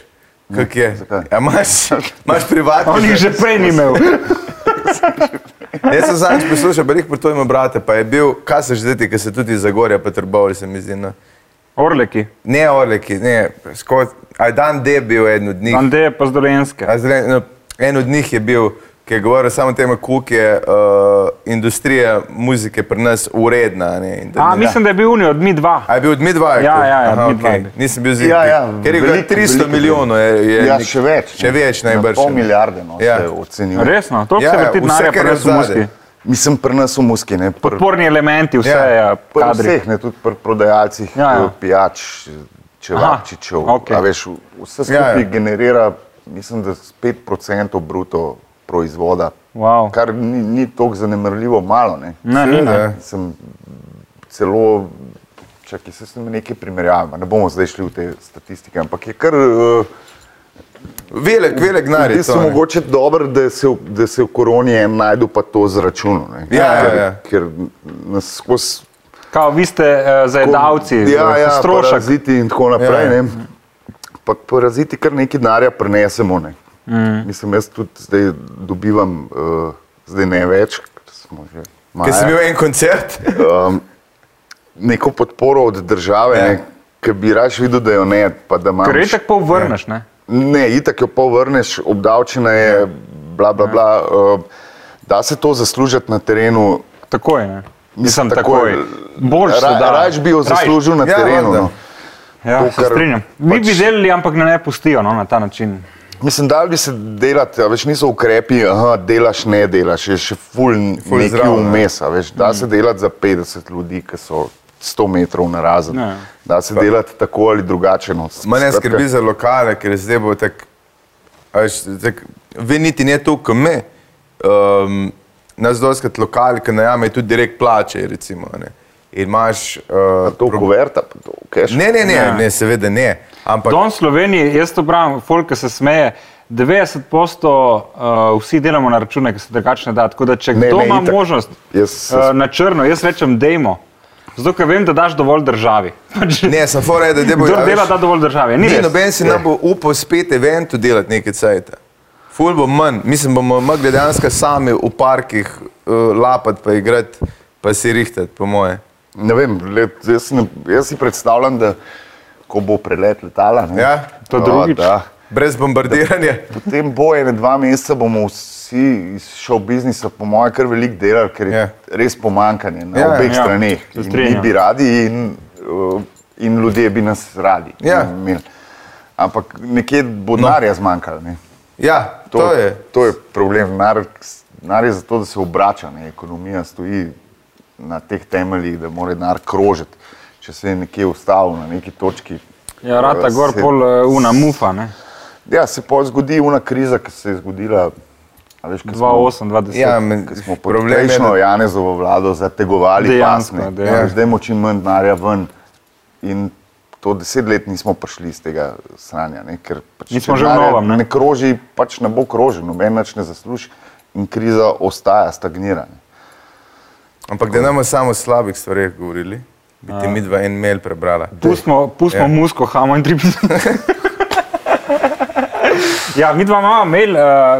[SPEAKER 1] kak je.
[SPEAKER 2] zakaj?
[SPEAKER 1] Ja, imaš, imaš privatno.
[SPEAKER 3] On jih
[SPEAKER 1] *laughs*
[SPEAKER 3] že prej ni imel.
[SPEAKER 1] Jaz sem zadnjič poslušal, pa jih pri tvojem brate, pa je bil, kaj se že ti, ki se tudi iz Zagorja, pa trbovali se mi zdi. No.
[SPEAKER 3] Orleki,
[SPEAKER 1] Ne, Orleki, ne, skot, aj dan D je bil eden od njih.
[SPEAKER 3] Andeje pa z Dolenske.
[SPEAKER 1] A Zdaj, no, en od njih je bil, ki je govoril samo o tem, koliko je uh, industrija muzike pri nas uredna. a Ne, in da
[SPEAKER 3] A,
[SPEAKER 1] ni-
[SPEAKER 3] mislim, da je bil unijo, od mi dva.
[SPEAKER 1] A je bil od midva? je
[SPEAKER 3] Ja,
[SPEAKER 1] to?
[SPEAKER 3] ja, ja,
[SPEAKER 1] Aha,
[SPEAKER 3] Midva je
[SPEAKER 1] okay.
[SPEAKER 3] bil.
[SPEAKER 1] Nisem bil zir.
[SPEAKER 2] Ja, ja,
[SPEAKER 1] Ker je bilo
[SPEAKER 2] veliko,
[SPEAKER 1] 300
[SPEAKER 2] veliko
[SPEAKER 1] milijonov. Je, je
[SPEAKER 2] Ja,
[SPEAKER 1] nek-
[SPEAKER 2] še več.
[SPEAKER 1] Še več najbrž.
[SPEAKER 2] Pol milijarde no,
[SPEAKER 1] Ja.
[SPEAKER 2] ja. se ocenjuje.
[SPEAKER 3] Resno, to
[SPEAKER 1] Ja,
[SPEAKER 3] se vrti
[SPEAKER 1] vse,
[SPEAKER 3] denarja,
[SPEAKER 1] kar je
[SPEAKER 3] pa res v
[SPEAKER 1] zadaj.
[SPEAKER 3] muski.
[SPEAKER 2] Mislim, pri nas v muski, ne pri
[SPEAKER 3] Podporni elementi, vse
[SPEAKER 1] Ja,
[SPEAKER 3] je ja,
[SPEAKER 2] pri
[SPEAKER 3] kadri.
[SPEAKER 2] vseh, ne tudi pri prodajalcih
[SPEAKER 3] Ja, ja.
[SPEAKER 2] eh, pijač, čevapčičev.
[SPEAKER 3] Aha, okej.
[SPEAKER 2] A Veš, v- vse
[SPEAKER 1] Ja,
[SPEAKER 2] skupaj
[SPEAKER 1] ja.
[SPEAKER 2] generira, mislim, da s 5% bruto proizvoda,
[SPEAKER 3] Wow.
[SPEAKER 2] kar ni, ni tako zanemrljivo malo. Ne.
[SPEAKER 3] Ne, ni, ne.
[SPEAKER 1] Ja.
[SPEAKER 2] Sem celo, čakaj, se sem nekaj primerjal, ne bomo zdaj šli v te statistike, ampak je kar, eh,
[SPEAKER 1] Velik, velik denar
[SPEAKER 2] v
[SPEAKER 1] je.
[SPEAKER 2] bistvu
[SPEAKER 1] to, ne.
[SPEAKER 2] mogoče dobro, da se, v- da se v koroni en najdu pa to z računom, ne.
[SPEAKER 1] Ja, ja,
[SPEAKER 2] ker,
[SPEAKER 1] ja.
[SPEAKER 2] ker nas skozi
[SPEAKER 3] Kao, vi ste uh, zajedavci,
[SPEAKER 2] ja,
[SPEAKER 3] eh,
[SPEAKER 2] ja,
[SPEAKER 3] strošek.
[SPEAKER 2] paraziti in tako naprej,
[SPEAKER 1] Ja, ja.
[SPEAKER 2] ja. ne. Pa paraziti kar nekaj denarja prenesemo, ne. Mm. Mislim, jaz tudi zdaj dobivam, uh, zdaj ne več, ker smo že
[SPEAKER 1] Ker sem
[SPEAKER 2] malo.
[SPEAKER 1] imel en koncert.
[SPEAKER 2] Um, neko podporo od države,
[SPEAKER 1] Ja.
[SPEAKER 2] ja. ki bi raje videl, da jo ne. pa Da imaš-
[SPEAKER 3] Ker je tako povrneš, ne?
[SPEAKER 2] Ne, itak jo povrneš, obdavčena
[SPEAKER 3] Ja.
[SPEAKER 2] je, bla, bla, bla. Uh, da se to zaslužiti na terenu.
[SPEAKER 3] Takoj, ne? Mislim,
[SPEAKER 2] takoj.
[SPEAKER 3] takoj. Boljš se
[SPEAKER 2] Ra-
[SPEAKER 3] da.
[SPEAKER 2] Raje bi jo
[SPEAKER 3] Rajš.
[SPEAKER 2] zaslužil na
[SPEAKER 1] Ja,
[SPEAKER 2] terenu.
[SPEAKER 1] valjda.
[SPEAKER 2] no.
[SPEAKER 3] Ja,
[SPEAKER 2] to,
[SPEAKER 3] se
[SPEAKER 2] kar
[SPEAKER 3] strinjam. Mi
[SPEAKER 2] pač-
[SPEAKER 3] bi delali, ampak ne, ne pustijo no, na ta način.
[SPEAKER 2] Mislim, da bi se delati, a veš, niso ukrepi, da delaš, ne delaš, je še ful,
[SPEAKER 1] Ful
[SPEAKER 2] ful neki
[SPEAKER 1] zraven,
[SPEAKER 3] ja.
[SPEAKER 1] ne.
[SPEAKER 2] vmes. a Veš, da mm. se delati za 50 ljudi, ki so 100 metrov na razen.
[SPEAKER 3] Ja, ja.
[SPEAKER 2] Da se delati tako ali drugače. No.
[SPEAKER 1] Mene
[SPEAKER 2] Skratka,
[SPEAKER 1] skrbi za lokale, ker zdaj bo tako, a veš, tako, vi niti ne to, kot me. Um, nas doskrat lokali, ki najamejo tudi direkt plače, recimo. a Ne. In imaš... Uh,
[SPEAKER 2] To kuverta, pa to keš.
[SPEAKER 1] ne, ne, ne,
[SPEAKER 3] Ja.
[SPEAKER 1] ne, seveda ne. Ampak
[SPEAKER 3] Don Sloveniji, jaz to pravim, folk ki se smeje, 90% uh, vsi delamo na račune, ki se drugačne da. Tako da, če
[SPEAKER 2] Ne,
[SPEAKER 3] kdo
[SPEAKER 2] ne,
[SPEAKER 3] ima
[SPEAKER 2] itak.
[SPEAKER 3] možnost
[SPEAKER 2] Jaz se
[SPEAKER 3] uh, na črno, jaz rečem, dejmo. Zato, ker vem, da daš dovolj državi. *laughs* Pač,
[SPEAKER 1] ne, sem fora, je, da debo,
[SPEAKER 3] Kdo dela, da Ja. dovolj državi. Ni
[SPEAKER 1] Ni
[SPEAKER 3] res.
[SPEAKER 1] noben si nam bo upal spet eventu delati nekaj cajta. Ful bo manj, mislim, bomo mogli dejansko sami v parkih uh, lapati, pa igrati, pa si rihtati, po moje.
[SPEAKER 2] Ne vem, let, jaz, ne, jaz si predstavljam, da ko bo prelet letala, ne,
[SPEAKER 1] Ja.
[SPEAKER 3] To
[SPEAKER 2] o,
[SPEAKER 3] drugič.
[SPEAKER 2] da,
[SPEAKER 1] Brez bombardiranja.
[SPEAKER 2] potem bo ene dva meseca bomo vsi iz šov biznisa, po mojem, kar veliko delali, ker je
[SPEAKER 1] Ja.
[SPEAKER 2] ja. res pomankanje na
[SPEAKER 1] Ja,
[SPEAKER 2] ja, obeh
[SPEAKER 3] ja.
[SPEAKER 2] ja. straneh.
[SPEAKER 3] Se
[SPEAKER 2] In Mi
[SPEAKER 3] strinjam.
[SPEAKER 2] bi radi in, uh, in ljudje bi nas radi.
[SPEAKER 1] Ja. No.
[SPEAKER 2] imeli. Ampak nekje bo denarja zmanjkalo. ne.
[SPEAKER 1] Ja, to, to je.
[SPEAKER 2] to je problem. Denar- Denar je zato, da se obrača. Ne? Ekonomija stoji na teh temeljih, da mora denar krožiti. Če se je nekje ustavil na neki točki.
[SPEAKER 3] Ja, rata
[SPEAKER 2] eh,
[SPEAKER 3] gor
[SPEAKER 2] se-
[SPEAKER 3] pol eh, una mufa, ne?
[SPEAKER 2] Ja, se pa zgodi una kriza, ki se je zgodila. a Veš, ko smo-
[SPEAKER 3] 2,8, 2,10.
[SPEAKER 1] Ja, men,
[SPEAKER 2] ko smo pod
[SPEAKER 1] problem je,
[SPEAKER 2] prejšnjo
[SPEAKER 1] da
[SPEAKER 2] Janezovo vlado zategovali
[SPEAKER 3] Dejansko,
[SPEAKER 2] pasme. Ja,
[SPEAKER 3] dejansko.
[SPEAKER 2] Zdaj imamo čim manj denarja ven. In to deset let nismo prišli iz tega sranja. Ne? Ker pač
[SPEAKER 3] Nismo
[SPEAKER 2] če
[SPEAKER 3] že v
[SPEAKER 2] denarja
[SPEAKER 3] novem, ne?
[SPEAKER 2] Ne kroži, pač ne bo krožil, noben več ne zasluži in kriza ostaja stagnirana.
[SPEAKER 1] Ampak da ne bomo samo o slabih stvareh govorili, bi ti mi dva en mail prebrala.
[SPEAKER 3] Pustimo, pustimo
[SPEAKER 1] Ja.
[SPEAKER 3] ja. musko, hamo in tripsi. ja, mi dva imamo mail,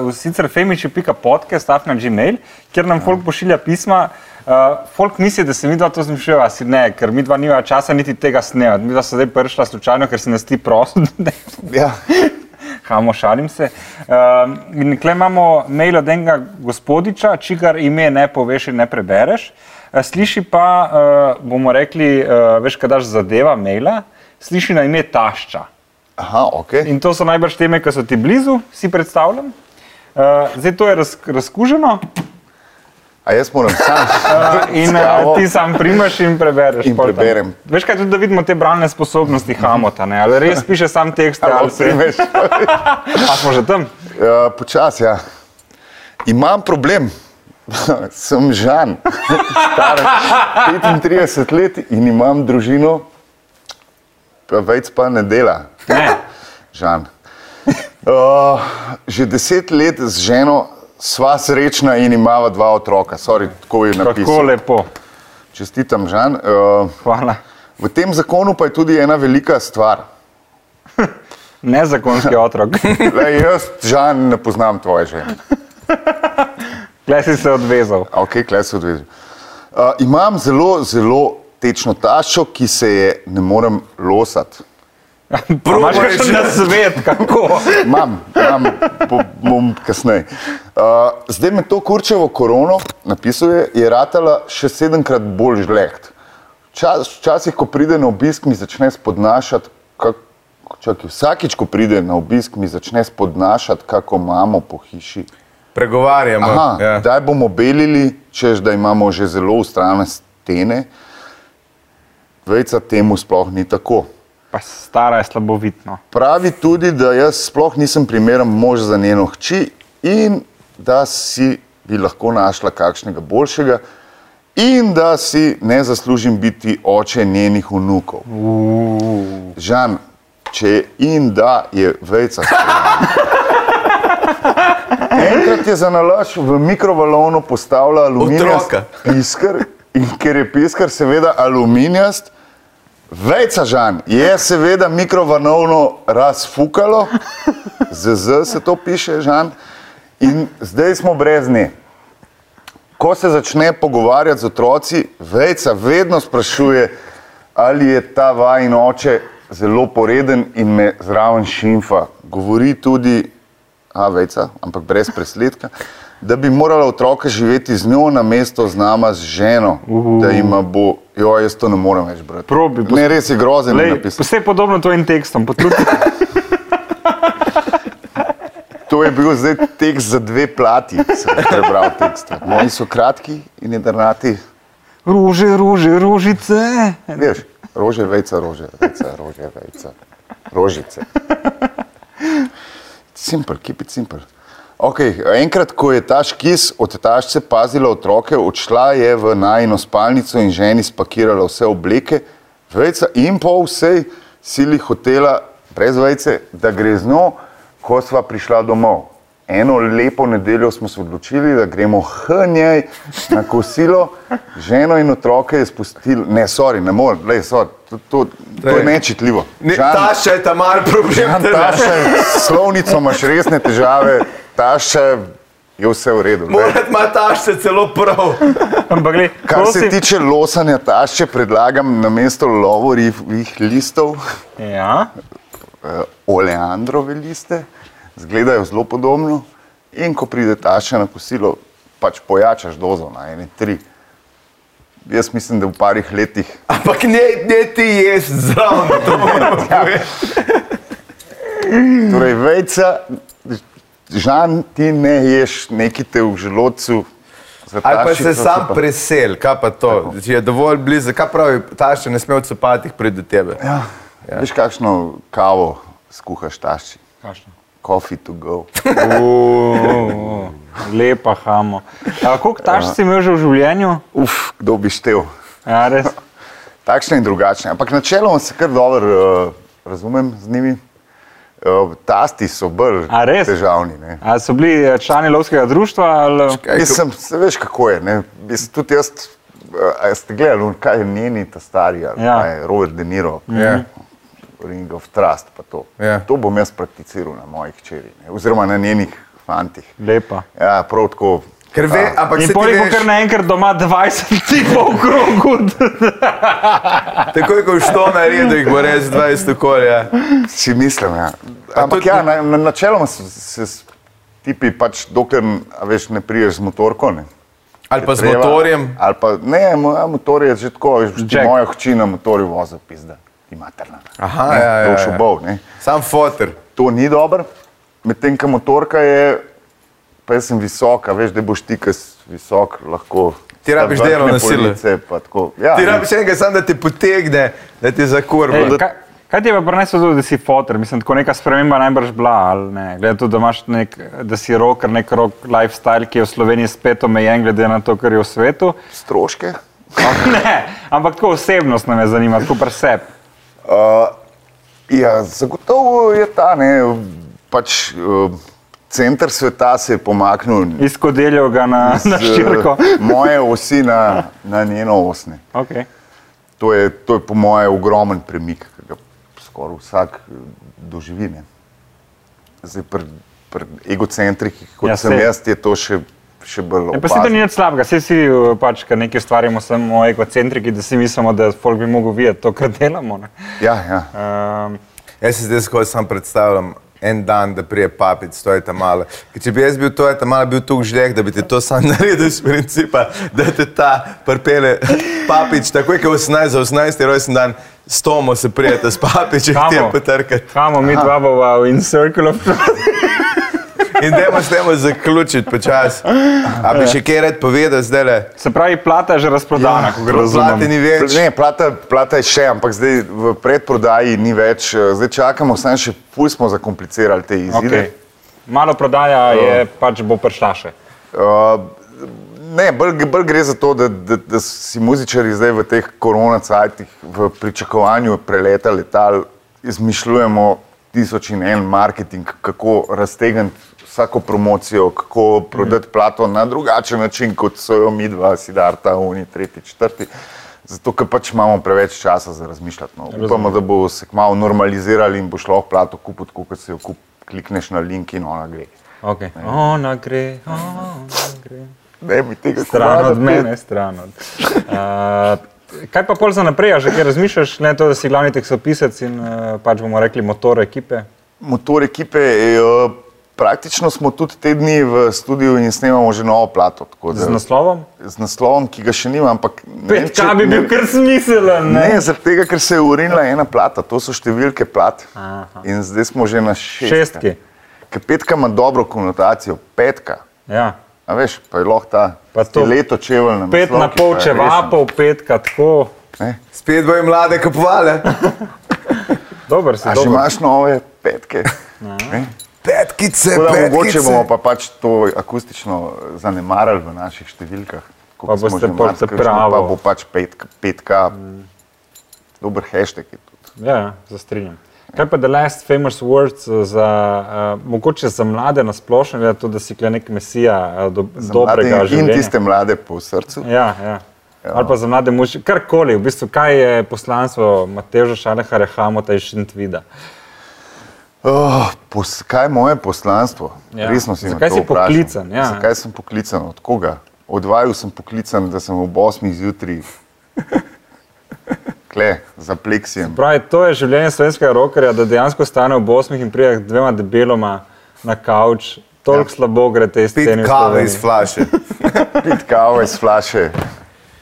[SPEAKER 3] uh, sicer femiči.podcast, afna gmail, kjer nam folk pošilja pisma. Uh, folk misli, da se mi dva to zmišljava, si ne, ker mi dva nima časa niti tega snemati. Mi dva so zdaj prišla slučajno, ker si nas ti prosil.
[SPEAKER 2] Ja.
[SPEAKER 3] *laughs* Hamo, šalim se. Um, in tukaj imamo mail od enega gospodiča, čigar ime ne poveš in ne prebereš. Eh, Sliši pa, uh, bomo rekli, uh, veš, kaj daš zadeva maila, sliši na ime tašča.
[SPEAKER 2] Aha, ok.
[SPEAKER 3] In to so najbrž teme, ki so ti blizu, si predstavljam. Uh, zdaj to je raz, razkuženo
[SPEAKER 2] A jaz moram sam.
[SPEAKER 3] uh, *laughs*
[SPEAKER 2] *laughs*
[SPEAKER 3] in
[SPEAKER 2] Skavo.
[SPEAKER 3] uh, ti sam primeš in prebereš.
[SPEAKER 2] In
[SPEAKER 3] pol tam.
[SPEAKER 2] preberem.
[SPEAKER 3] Veš kaj, tudi da vidimo te bralne sposobnosti Hamota, ne? ali res piše sam tekst, ali
[SPEAKER 2] Malo
[SPEAKER 3] se...
[SPEAKER 2] primeš.
[SPEAKER 3] A smo že tam?
[SPEAKER 2] Ja, Počasi, ja. Imam problem. *laughs* Sem Žan, star 35 let in imam družino, pa več pa ne dela.
[SPEAKER 3] Ne.
[SPEAKER 2] Žan. *laughs* Uh, že deset let z ženo sva srečna in imava dva otroka. Sorry, tako je
[SPEAKER 3] Kako
[SPEAKER 2] napisano.
[SPEAKER 3] lepo.
[SPEAKER 2] Čestitam, Žan. Uh,
[SPEAKER 3] Hvala.
[SPEAKER 2] v tem zakonu pa je tudi ena velika stvar.
[SPEAKER 3] Nezakonski otrok.
[SPEAKER 2] Le, jaz, Žan, ne poznam tvoje žene.
[SPEAKER 3] Klej si se odvezal.
[SPEAKER 2] Ok, klej se odveži. Uh, imam zelo, zelo tečno taščo, ki se je ne morem losati.
[SPEAKER 3] Probaš
[SPEAKER 1] Probaj,
[SPEAKER 3] še
[SPEAKER 1] če-
[SPEAKER 3] na svet, kako.
[SPEAKER 2] Imam, imam bo- bom kasneje. Uh, zdaj me to kurčevo korono, napisal je, je ratala še sedemkrat bolj žleht. Čas, včasih, ko pride na obisk, mi začne spodnašati, kak, čakaj, vsakič, ko pride na obisk, mi začne spodnašati, kako imamo po hiši.
[SPEAKER 1] Pregovarjamo.
[SPEAKER 2] Aha,
[SPEAKER 1] ja.
[SPEAKER 2] ja. Kdaj bomo belili, češ da imamo že zelo ustrajne stene? Vejca temu sploh ni tako.
[SPEAKER 3] Pa stara je slabovitno.
[SPEAKER 2] Pravi tudi, da jaz sploh nisem primeren mož za njeno hči in da si bi lahko našla kakšnega boljšega, in da si ne zaslužim biti oče njenih vnukov. Žan, če je in da je vejca. strelana. Enkrat je za nalaž v mikrovalovno postavila aluminijast
[SPEAKER 1] Otroka.
[SPEAKER 2] piskar in ker je piskar seveda aluminijast, Vejca žan je seveda mikrovanovno razfukalo, z z se to piše žan in zdaj smo brez nje. Ko se začne pogovarjati z otroci, vejca vedno sprašuje, ali je ta vajin oče zelo poreden in me zraven šimfa. Govori tudi, a vejca, ampak brez presledka, da bi morala otroka živeti z njo na mesto z nama, z ženo, uh. da ima bo, jo jaz to ne morem več brati.
[SPEAKER 3] Probi, pos-
[SPEAKER 2] ne, res je grozen
[SPEAKER 3] Lej,
[SPEAKER 2] napisati.
[SPEAKER 3] vse podobno tvojim tekstom, potrudi *laughs* se.
[SPEAKER 2] To je bil zdaj tekst za dve plati, sem prebral tekst. Moji so kratki in jedrnati,
[SPEAKER 3] Ruže, ruže, ružice.
[SPEAKER 2] veš, rože, vejca, rože, vejca, rože, vejca, rožice. Simpel, keep it simple. Okay, enkrat, ko je ta škis od tašče pazila otroke, odšla je v najno spalnico in ženi spakirala vse obleke, vejca in po vsej sili hotela brez vejce, da gre z njo, ko sva prišla domov. Eno lepo nedeljo smo se odločili, da gremo hnjej na kosilo, ženo in otroke je spustili, ne, sorry, ne morem, lej, sorry, to, to, to je nečitljivo.
[SPEAKER 1] Torej, Ne,
[SPEAKER 2] Žan-
[SPEAKER 1] Taša je ta mal problem.
[SPEAKER 2] Tam
[SPEAKER 1] te ne.
[SPEAKER 2] taša, s slovnico imaš resne težave, taša je vse v redu. ne.
[SPEAKER 1] Morat ima Taša celo prav.
[SPEAKER 3] Ampak gled,
[SPEAKER 2] Kar se tiče losanja tašče, predlagam na mesto lovorjih listov
[SPEAKER 3] Ja,
[SPEAKER 2] eh, oleandrove liste, zgledajo zelo podobno in ko pride tašča na kosilo, pač pojačaš dozo na ene tri. Jaz mislim, da v parih letih
[SPEAKER 1] Ampak ne, ne ti ješ zraven, to moramo povedati.
[SPEAKER 2] Torej, vejca, žan, ti ne ješ neki te v želodcu. za
[SPEAKER 1] Ali pa
[SPEAKER 2] taščico,
[SPEAKER 1] se sam
[SPEAKER 2] pa-
[SPEAKER 1] presel, kaj pa to, če je dovolj blizu, kaj pravi, Taša ne sme v copatih priti do tebe.
[SPEAKER 2] Ja. Ja. Veš, kakšno kavo skuhaš tašči?
[SPEAKER 3] kakšno.
[SPEAKER 2] Coffee to
[SPEAKER 3] *laughs*
[SPEAKER 2] go.
[SPEAKER 3] Uuu, Lepa hamo. A koliko taš si imel že v življenju?
[SPEAKER 2] Uf, kdo bi štev.
[SPEAKER 3] Ja, res.
[SPEAKER 2] Takšne in drugačne. Ampak načeloma se kar dobro uh, razumem z njimi. Uh, tasti so bolj
[SPEAKER 3] A res?
[SPEAKER 2] težavni. Ne?
[SPEAKER 3] A so bili eh, člani lovskega društva ali
[SPEAKER 1] Kaj,
[SPEAKER 2] Mislim, se veš, kako je. Ne? Mislim, tudi jaz, uh, ste gledali, on, kaj je njeni ta stari, ali
[SPEAKER 3] Ja. Mhm.
[SPEAKER 2] ja. kaj je Robert De Niro.
[SPEAKER 1] Ja.
[SPEAKER 2] Ring of Trust. pa To.
[SPEAKER 1] Ja.
[SPEAKER 2] to bom jaz prakticiral na mojih čeri, oziroma na njenih fantih.
[SPEAKER 3] lepa?
[SPEAKER 2] Ja, prav tako.
[SPEAKER 1] Ker ve, ampak
[SPEAKER 3] In
[SPEAKER 1] se ti
[SPEAKER 3] poleg tega,
[SPEAKER 1] veš,
[SPEAKER 3] ker naenkrat doma 20 tipov v krogu.
[SPEAKER 1] takoj ko što naredi, jih bo res ja. 20 okolja.
[SPEAKER 2] Si mislim, ja.
[SPEAKER 1] A
[SPEAKER 2] Ampak
[SPEAKER 1] tudi-
[SPEAKER 2] ja, na, na, načeloma se, se s- tipi, pač, dokler a veš, ne priješ z motorko. Ne.
[SPEAKER 1] Ali pa z
[SPEAKER 2] Treba-
[SPEAKER 1] motorjem.
[SPEAKER 2] Ali pa ne, mo- ja, motor je že tako, veš, ti
[SPEAKER 3] Jack.
[SPEAKER 2] moja hči na motorju vozi, pizda, ima trna.
[SPEAKER 1] Aha, ja, ja,
[SPEAKER 2] To še
[SPEAKER 1] ja.
[SPEAKER 2] bov, ne.
[SPEAKER 1] Sam foter.
[SPEAKER 2] To ni dobro, medtem ko motorka je, pa jaz sem visoka, veš, da boš ti, ki si visok, lahko.
[SPEAKER 1] Ti rabiš
[SPEAKER 2] vrtne
[SPEAKER 1] delovne sile.
[SPEAKER 2] police, pa tako. Ja,
[SPEAKER 1] Ti
[SPEAKER 2] ne.
[SPEAKER 1] rabiš enega sam, da ti potegne, da ti zakurva.
[SPEAKER 3] Ej, kaj, kaj ti je pa prineslo to, da si fotor? Mislim, tako neka sprememba najbrž bila, ali ne? Glede tudi, da imaš nek, da si roker, nek rok lifestyle, ki je v Sloveniji spet omejen, glede na to, kar je v svetu.
[SPEAKER 2] Stroške.
[SPEAKER 3] Ampak ne, ampak tako osebnost me zanima, tako presep.
[SPEAKER 2] Uh, ja, zagotovo je ta, ne, pač uh, center sveta se je pomaknil
[SPEAKER 3] Izkodelil ga na, Ja, na
[SPEAKER 2] z, eh,
[SPEAKER 3] *laughs* širko.
[SPEAKER 2] moje osi na, na njeno osne.
[SPEAKER 3] Okay.
[SPEAKER 2] To je, to je po mojem ogromen premik, ki ga skoraj vsak eh, doživi. Ne? Zdaj, pri, pri egocentrikih, kot
[SPEAKER 3] Ja,
[SPEAKER 2] ja, sem
[SPEAKER 3] sej.
[SPEAKER 2] jaz, je to še, še bolj
[SPEAKER 3] Ja, pa se to ni
[SPEAKER 2] opazno.
[SPEAKER 3] nič slabega, vsi si eh, pač, ker nekaj ustvarjamo, samo ekocentriki, da si mislimo, da folk bi mogel videti to, kar delamo. ne.
[SPEAKER 2] Ja, ja.
[SPEAKER 3] Um,
[SPEAKER 1] Jaz si zdaj skozi sam predstavljam en dan, da prije papic, to je ta mala. Ker če bi jaz bil to, je ta mala bil tu žleh, da bi ti to sam *laughs* naredil iz principa, da te ta prpele papič, tako je, kot 18 za 18 rojsten dan, s tomo se prijete s papičem, ti je
[SPEAKER 3] Kamo?
[SPEAKER 1] potrkati.
[SPEAKER 3] Kamo mi dva bova v In Circle of Trust.
[SPEAKER 1] In dajmo s tem zaključiti počasi. A bi še kaj rad povedal zdaj le?
[SPEAKER 3] Se pravi, plata je že razprodana, ja, ko gre za
[SPEAKER 1] Plate ni več.
[SPEAKER 2] Ne, plata, plata je še, ampak zdaj v predprodaji ni več, eh, zdaj čakamo, samo še ful smo zakomplicirali te izide.
[SPEAKER 3] Okay. Malo prodaja je, pač bo prišla še.
[SPEAKER 2] Uh, ne, bolj, bolj gre za to, da, da, da si muzičari zdaj v teh koronacajtih, v pričakovanju preleta letal, izmišljujemo tisoč in en marketing, kako raztegniti vsako promocijo, kako prodati plato na drugačen način, kot so jo mi dva, Sidarta, Uni, tretji, četrti. Zato, ker pač imamo preveč časa za razmišljati. No. Upamo, da bo se kmalo normalizirali in bo šlo v plato kupiti, tako kot se jo kup, klikneš na link in ona gre.
[SPEAKER 3] Okay. Ona gre, ona gre.
[SPEAKER 2] Ne bi tega
[SPEAKER 3] Stran
[SPEAKER 2] komada
[SPEAKER 3] od
[SPEAKER 2] pet.
[SPEAKER 3] mene, stran *laughs* od. Uh, kaj pa pol za naprej, a že kaj razmišljaš, ne to, da si glavni tekstopisec in uh, pač bomo rekli motor ekipe?
[SPEAKER 2] Motor ekipe, eh, eh, praktično smo tudi te dni v studiu in snemamo že novo plato. tako da-
[SPEAKER 3] Z naslovom?
[SPEAKER 2] z naslovom, ki ga še nimam, ampak ne vem,
[SPEAKER 3] Petka bi bil kar smiselen.
[SPEAKER 2] Ne,
[SPEAKER 3] Ne?
[SPEAKER 2] ne zaradi tega, ker se je urinila ena plata, to so številke plat.
[SPEAKER 3] Aha.
[SPEAKER 2] In zdaj smo že na šestki.
[SPEAKER 3] Šestki.
[SPEAKER 2] Ker petka ima dobro konotacijo, petka.
[SPEAKER 3] Ja.
[SPEAKER 2] A veš, pa je lahko ta
[SPEAKER 3] Pa to-
[SPEAKER 2] leto čevelj na
[SPEAKER 3] Pet na pol čevapov, petka tako.
[SPEAKER 1] Spet bojo mlade kupovale.
[SPEAKER 3] Dober si,
[SPEAKER 2] A že
[SPEAKER 3] dober.
[SPEAKER 2] imaš nove petke?
[SPEAKER 3] Ja.
[SPEAKER 2] Ne?
[SPEAKER 1] Petkice,
[SPEAKER 2] Tako da Mogoče
[SPEAKER 1] petkice.
[SPEAKER 2] bomo pa pač to akustično zanemarili v naših številkah. koliko
[SPEAKER 3] Pa
[SPEAKER 2] smo
[SPEAKER 3] boste
[SPEAKER 2] že
[SPEAKER 3] pol
[SPEAKER 2] marsikaj šli,
[SPEAKER 3] zapravo.
[SPEAKER 2] Pa bo pač petka, petka dober hashtag je tudi.
[SPEAKER 3] Ja, ja, se strinjam. Kaj pa The Last Famous Words, eh, za, uh, mogoče za mlade nasplošno, glede na to, da si kle nek mesija uh, do,
[SPEAKER 2] Za
[SPEAKER 3] dobrega
[SPEAKER 2] mlade in
[SPEAKER 3] življenja.
[SPEAKER 2] tiste mlade po srcu.
[SPEAKER 3] Ja, ja. Ja. Ali pa za mlade muži, karkoli, v bistvu, kaj je poslanstvo Mateža Šaleha Rehamota iz Šintvida.
[SPEAKER 2] Oh, pos, kaj je moje poslanstvo?
[SPEAKER 3] Ja.
[SPEAKER 2] Ja. Resno si me
[SPEAKER 3] Zakaj
[SPEAKER 2] to
[SPEAKER 3] si
[SPEAKER 2] vprašal.
[SPEAKER 3] poklican, ja.
[SPEAKER 2] Zakaj sem poklican? Od koga? Od vaju sem poklican, da sem ob 8
[SPEAKER 3] *laughs*
[SPEAKER 2] zjutraj kle za pleksijem.
[SPEAKER 3] Pravi, to je življenje slovenskega rokerja, da dejansko stane ob osmih in pride k dvema debeloma na kavč. Toliko ja. slabo gre te
[SPEAKER 1] Pit
[SPEAKER 3] scene.
[SPEAKER 1] kave iz flaše.
[SPEAKER 2] Pit kavo iz flaše.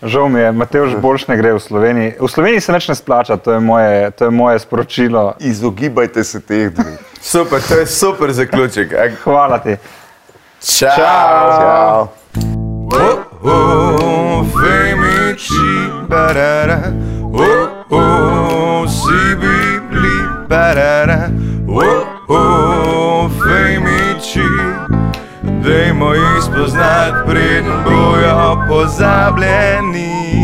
[SPEAKER 5] Žal mi je, Mateoš Borš ne gre v Sloveniji. V Sloveniji se nič ne splača, to je moje, to je moje sporočilo.
[SPEAKER 2] Izogibajte se teh dveh.
[SPEAKER 1] Super, to je super zaključek. Ak,
[SPEAKER 5] Hvala ti.
[SPEAKER 1] Ciao.
[SPEAKER 2] Ciao.
[SPEAKER 1] Oh, oh, femici, barara. Oh, oh, si bibli, barara. Oh, oh, femici. Dajmo jih spoznati, preden bojo pozabljeni.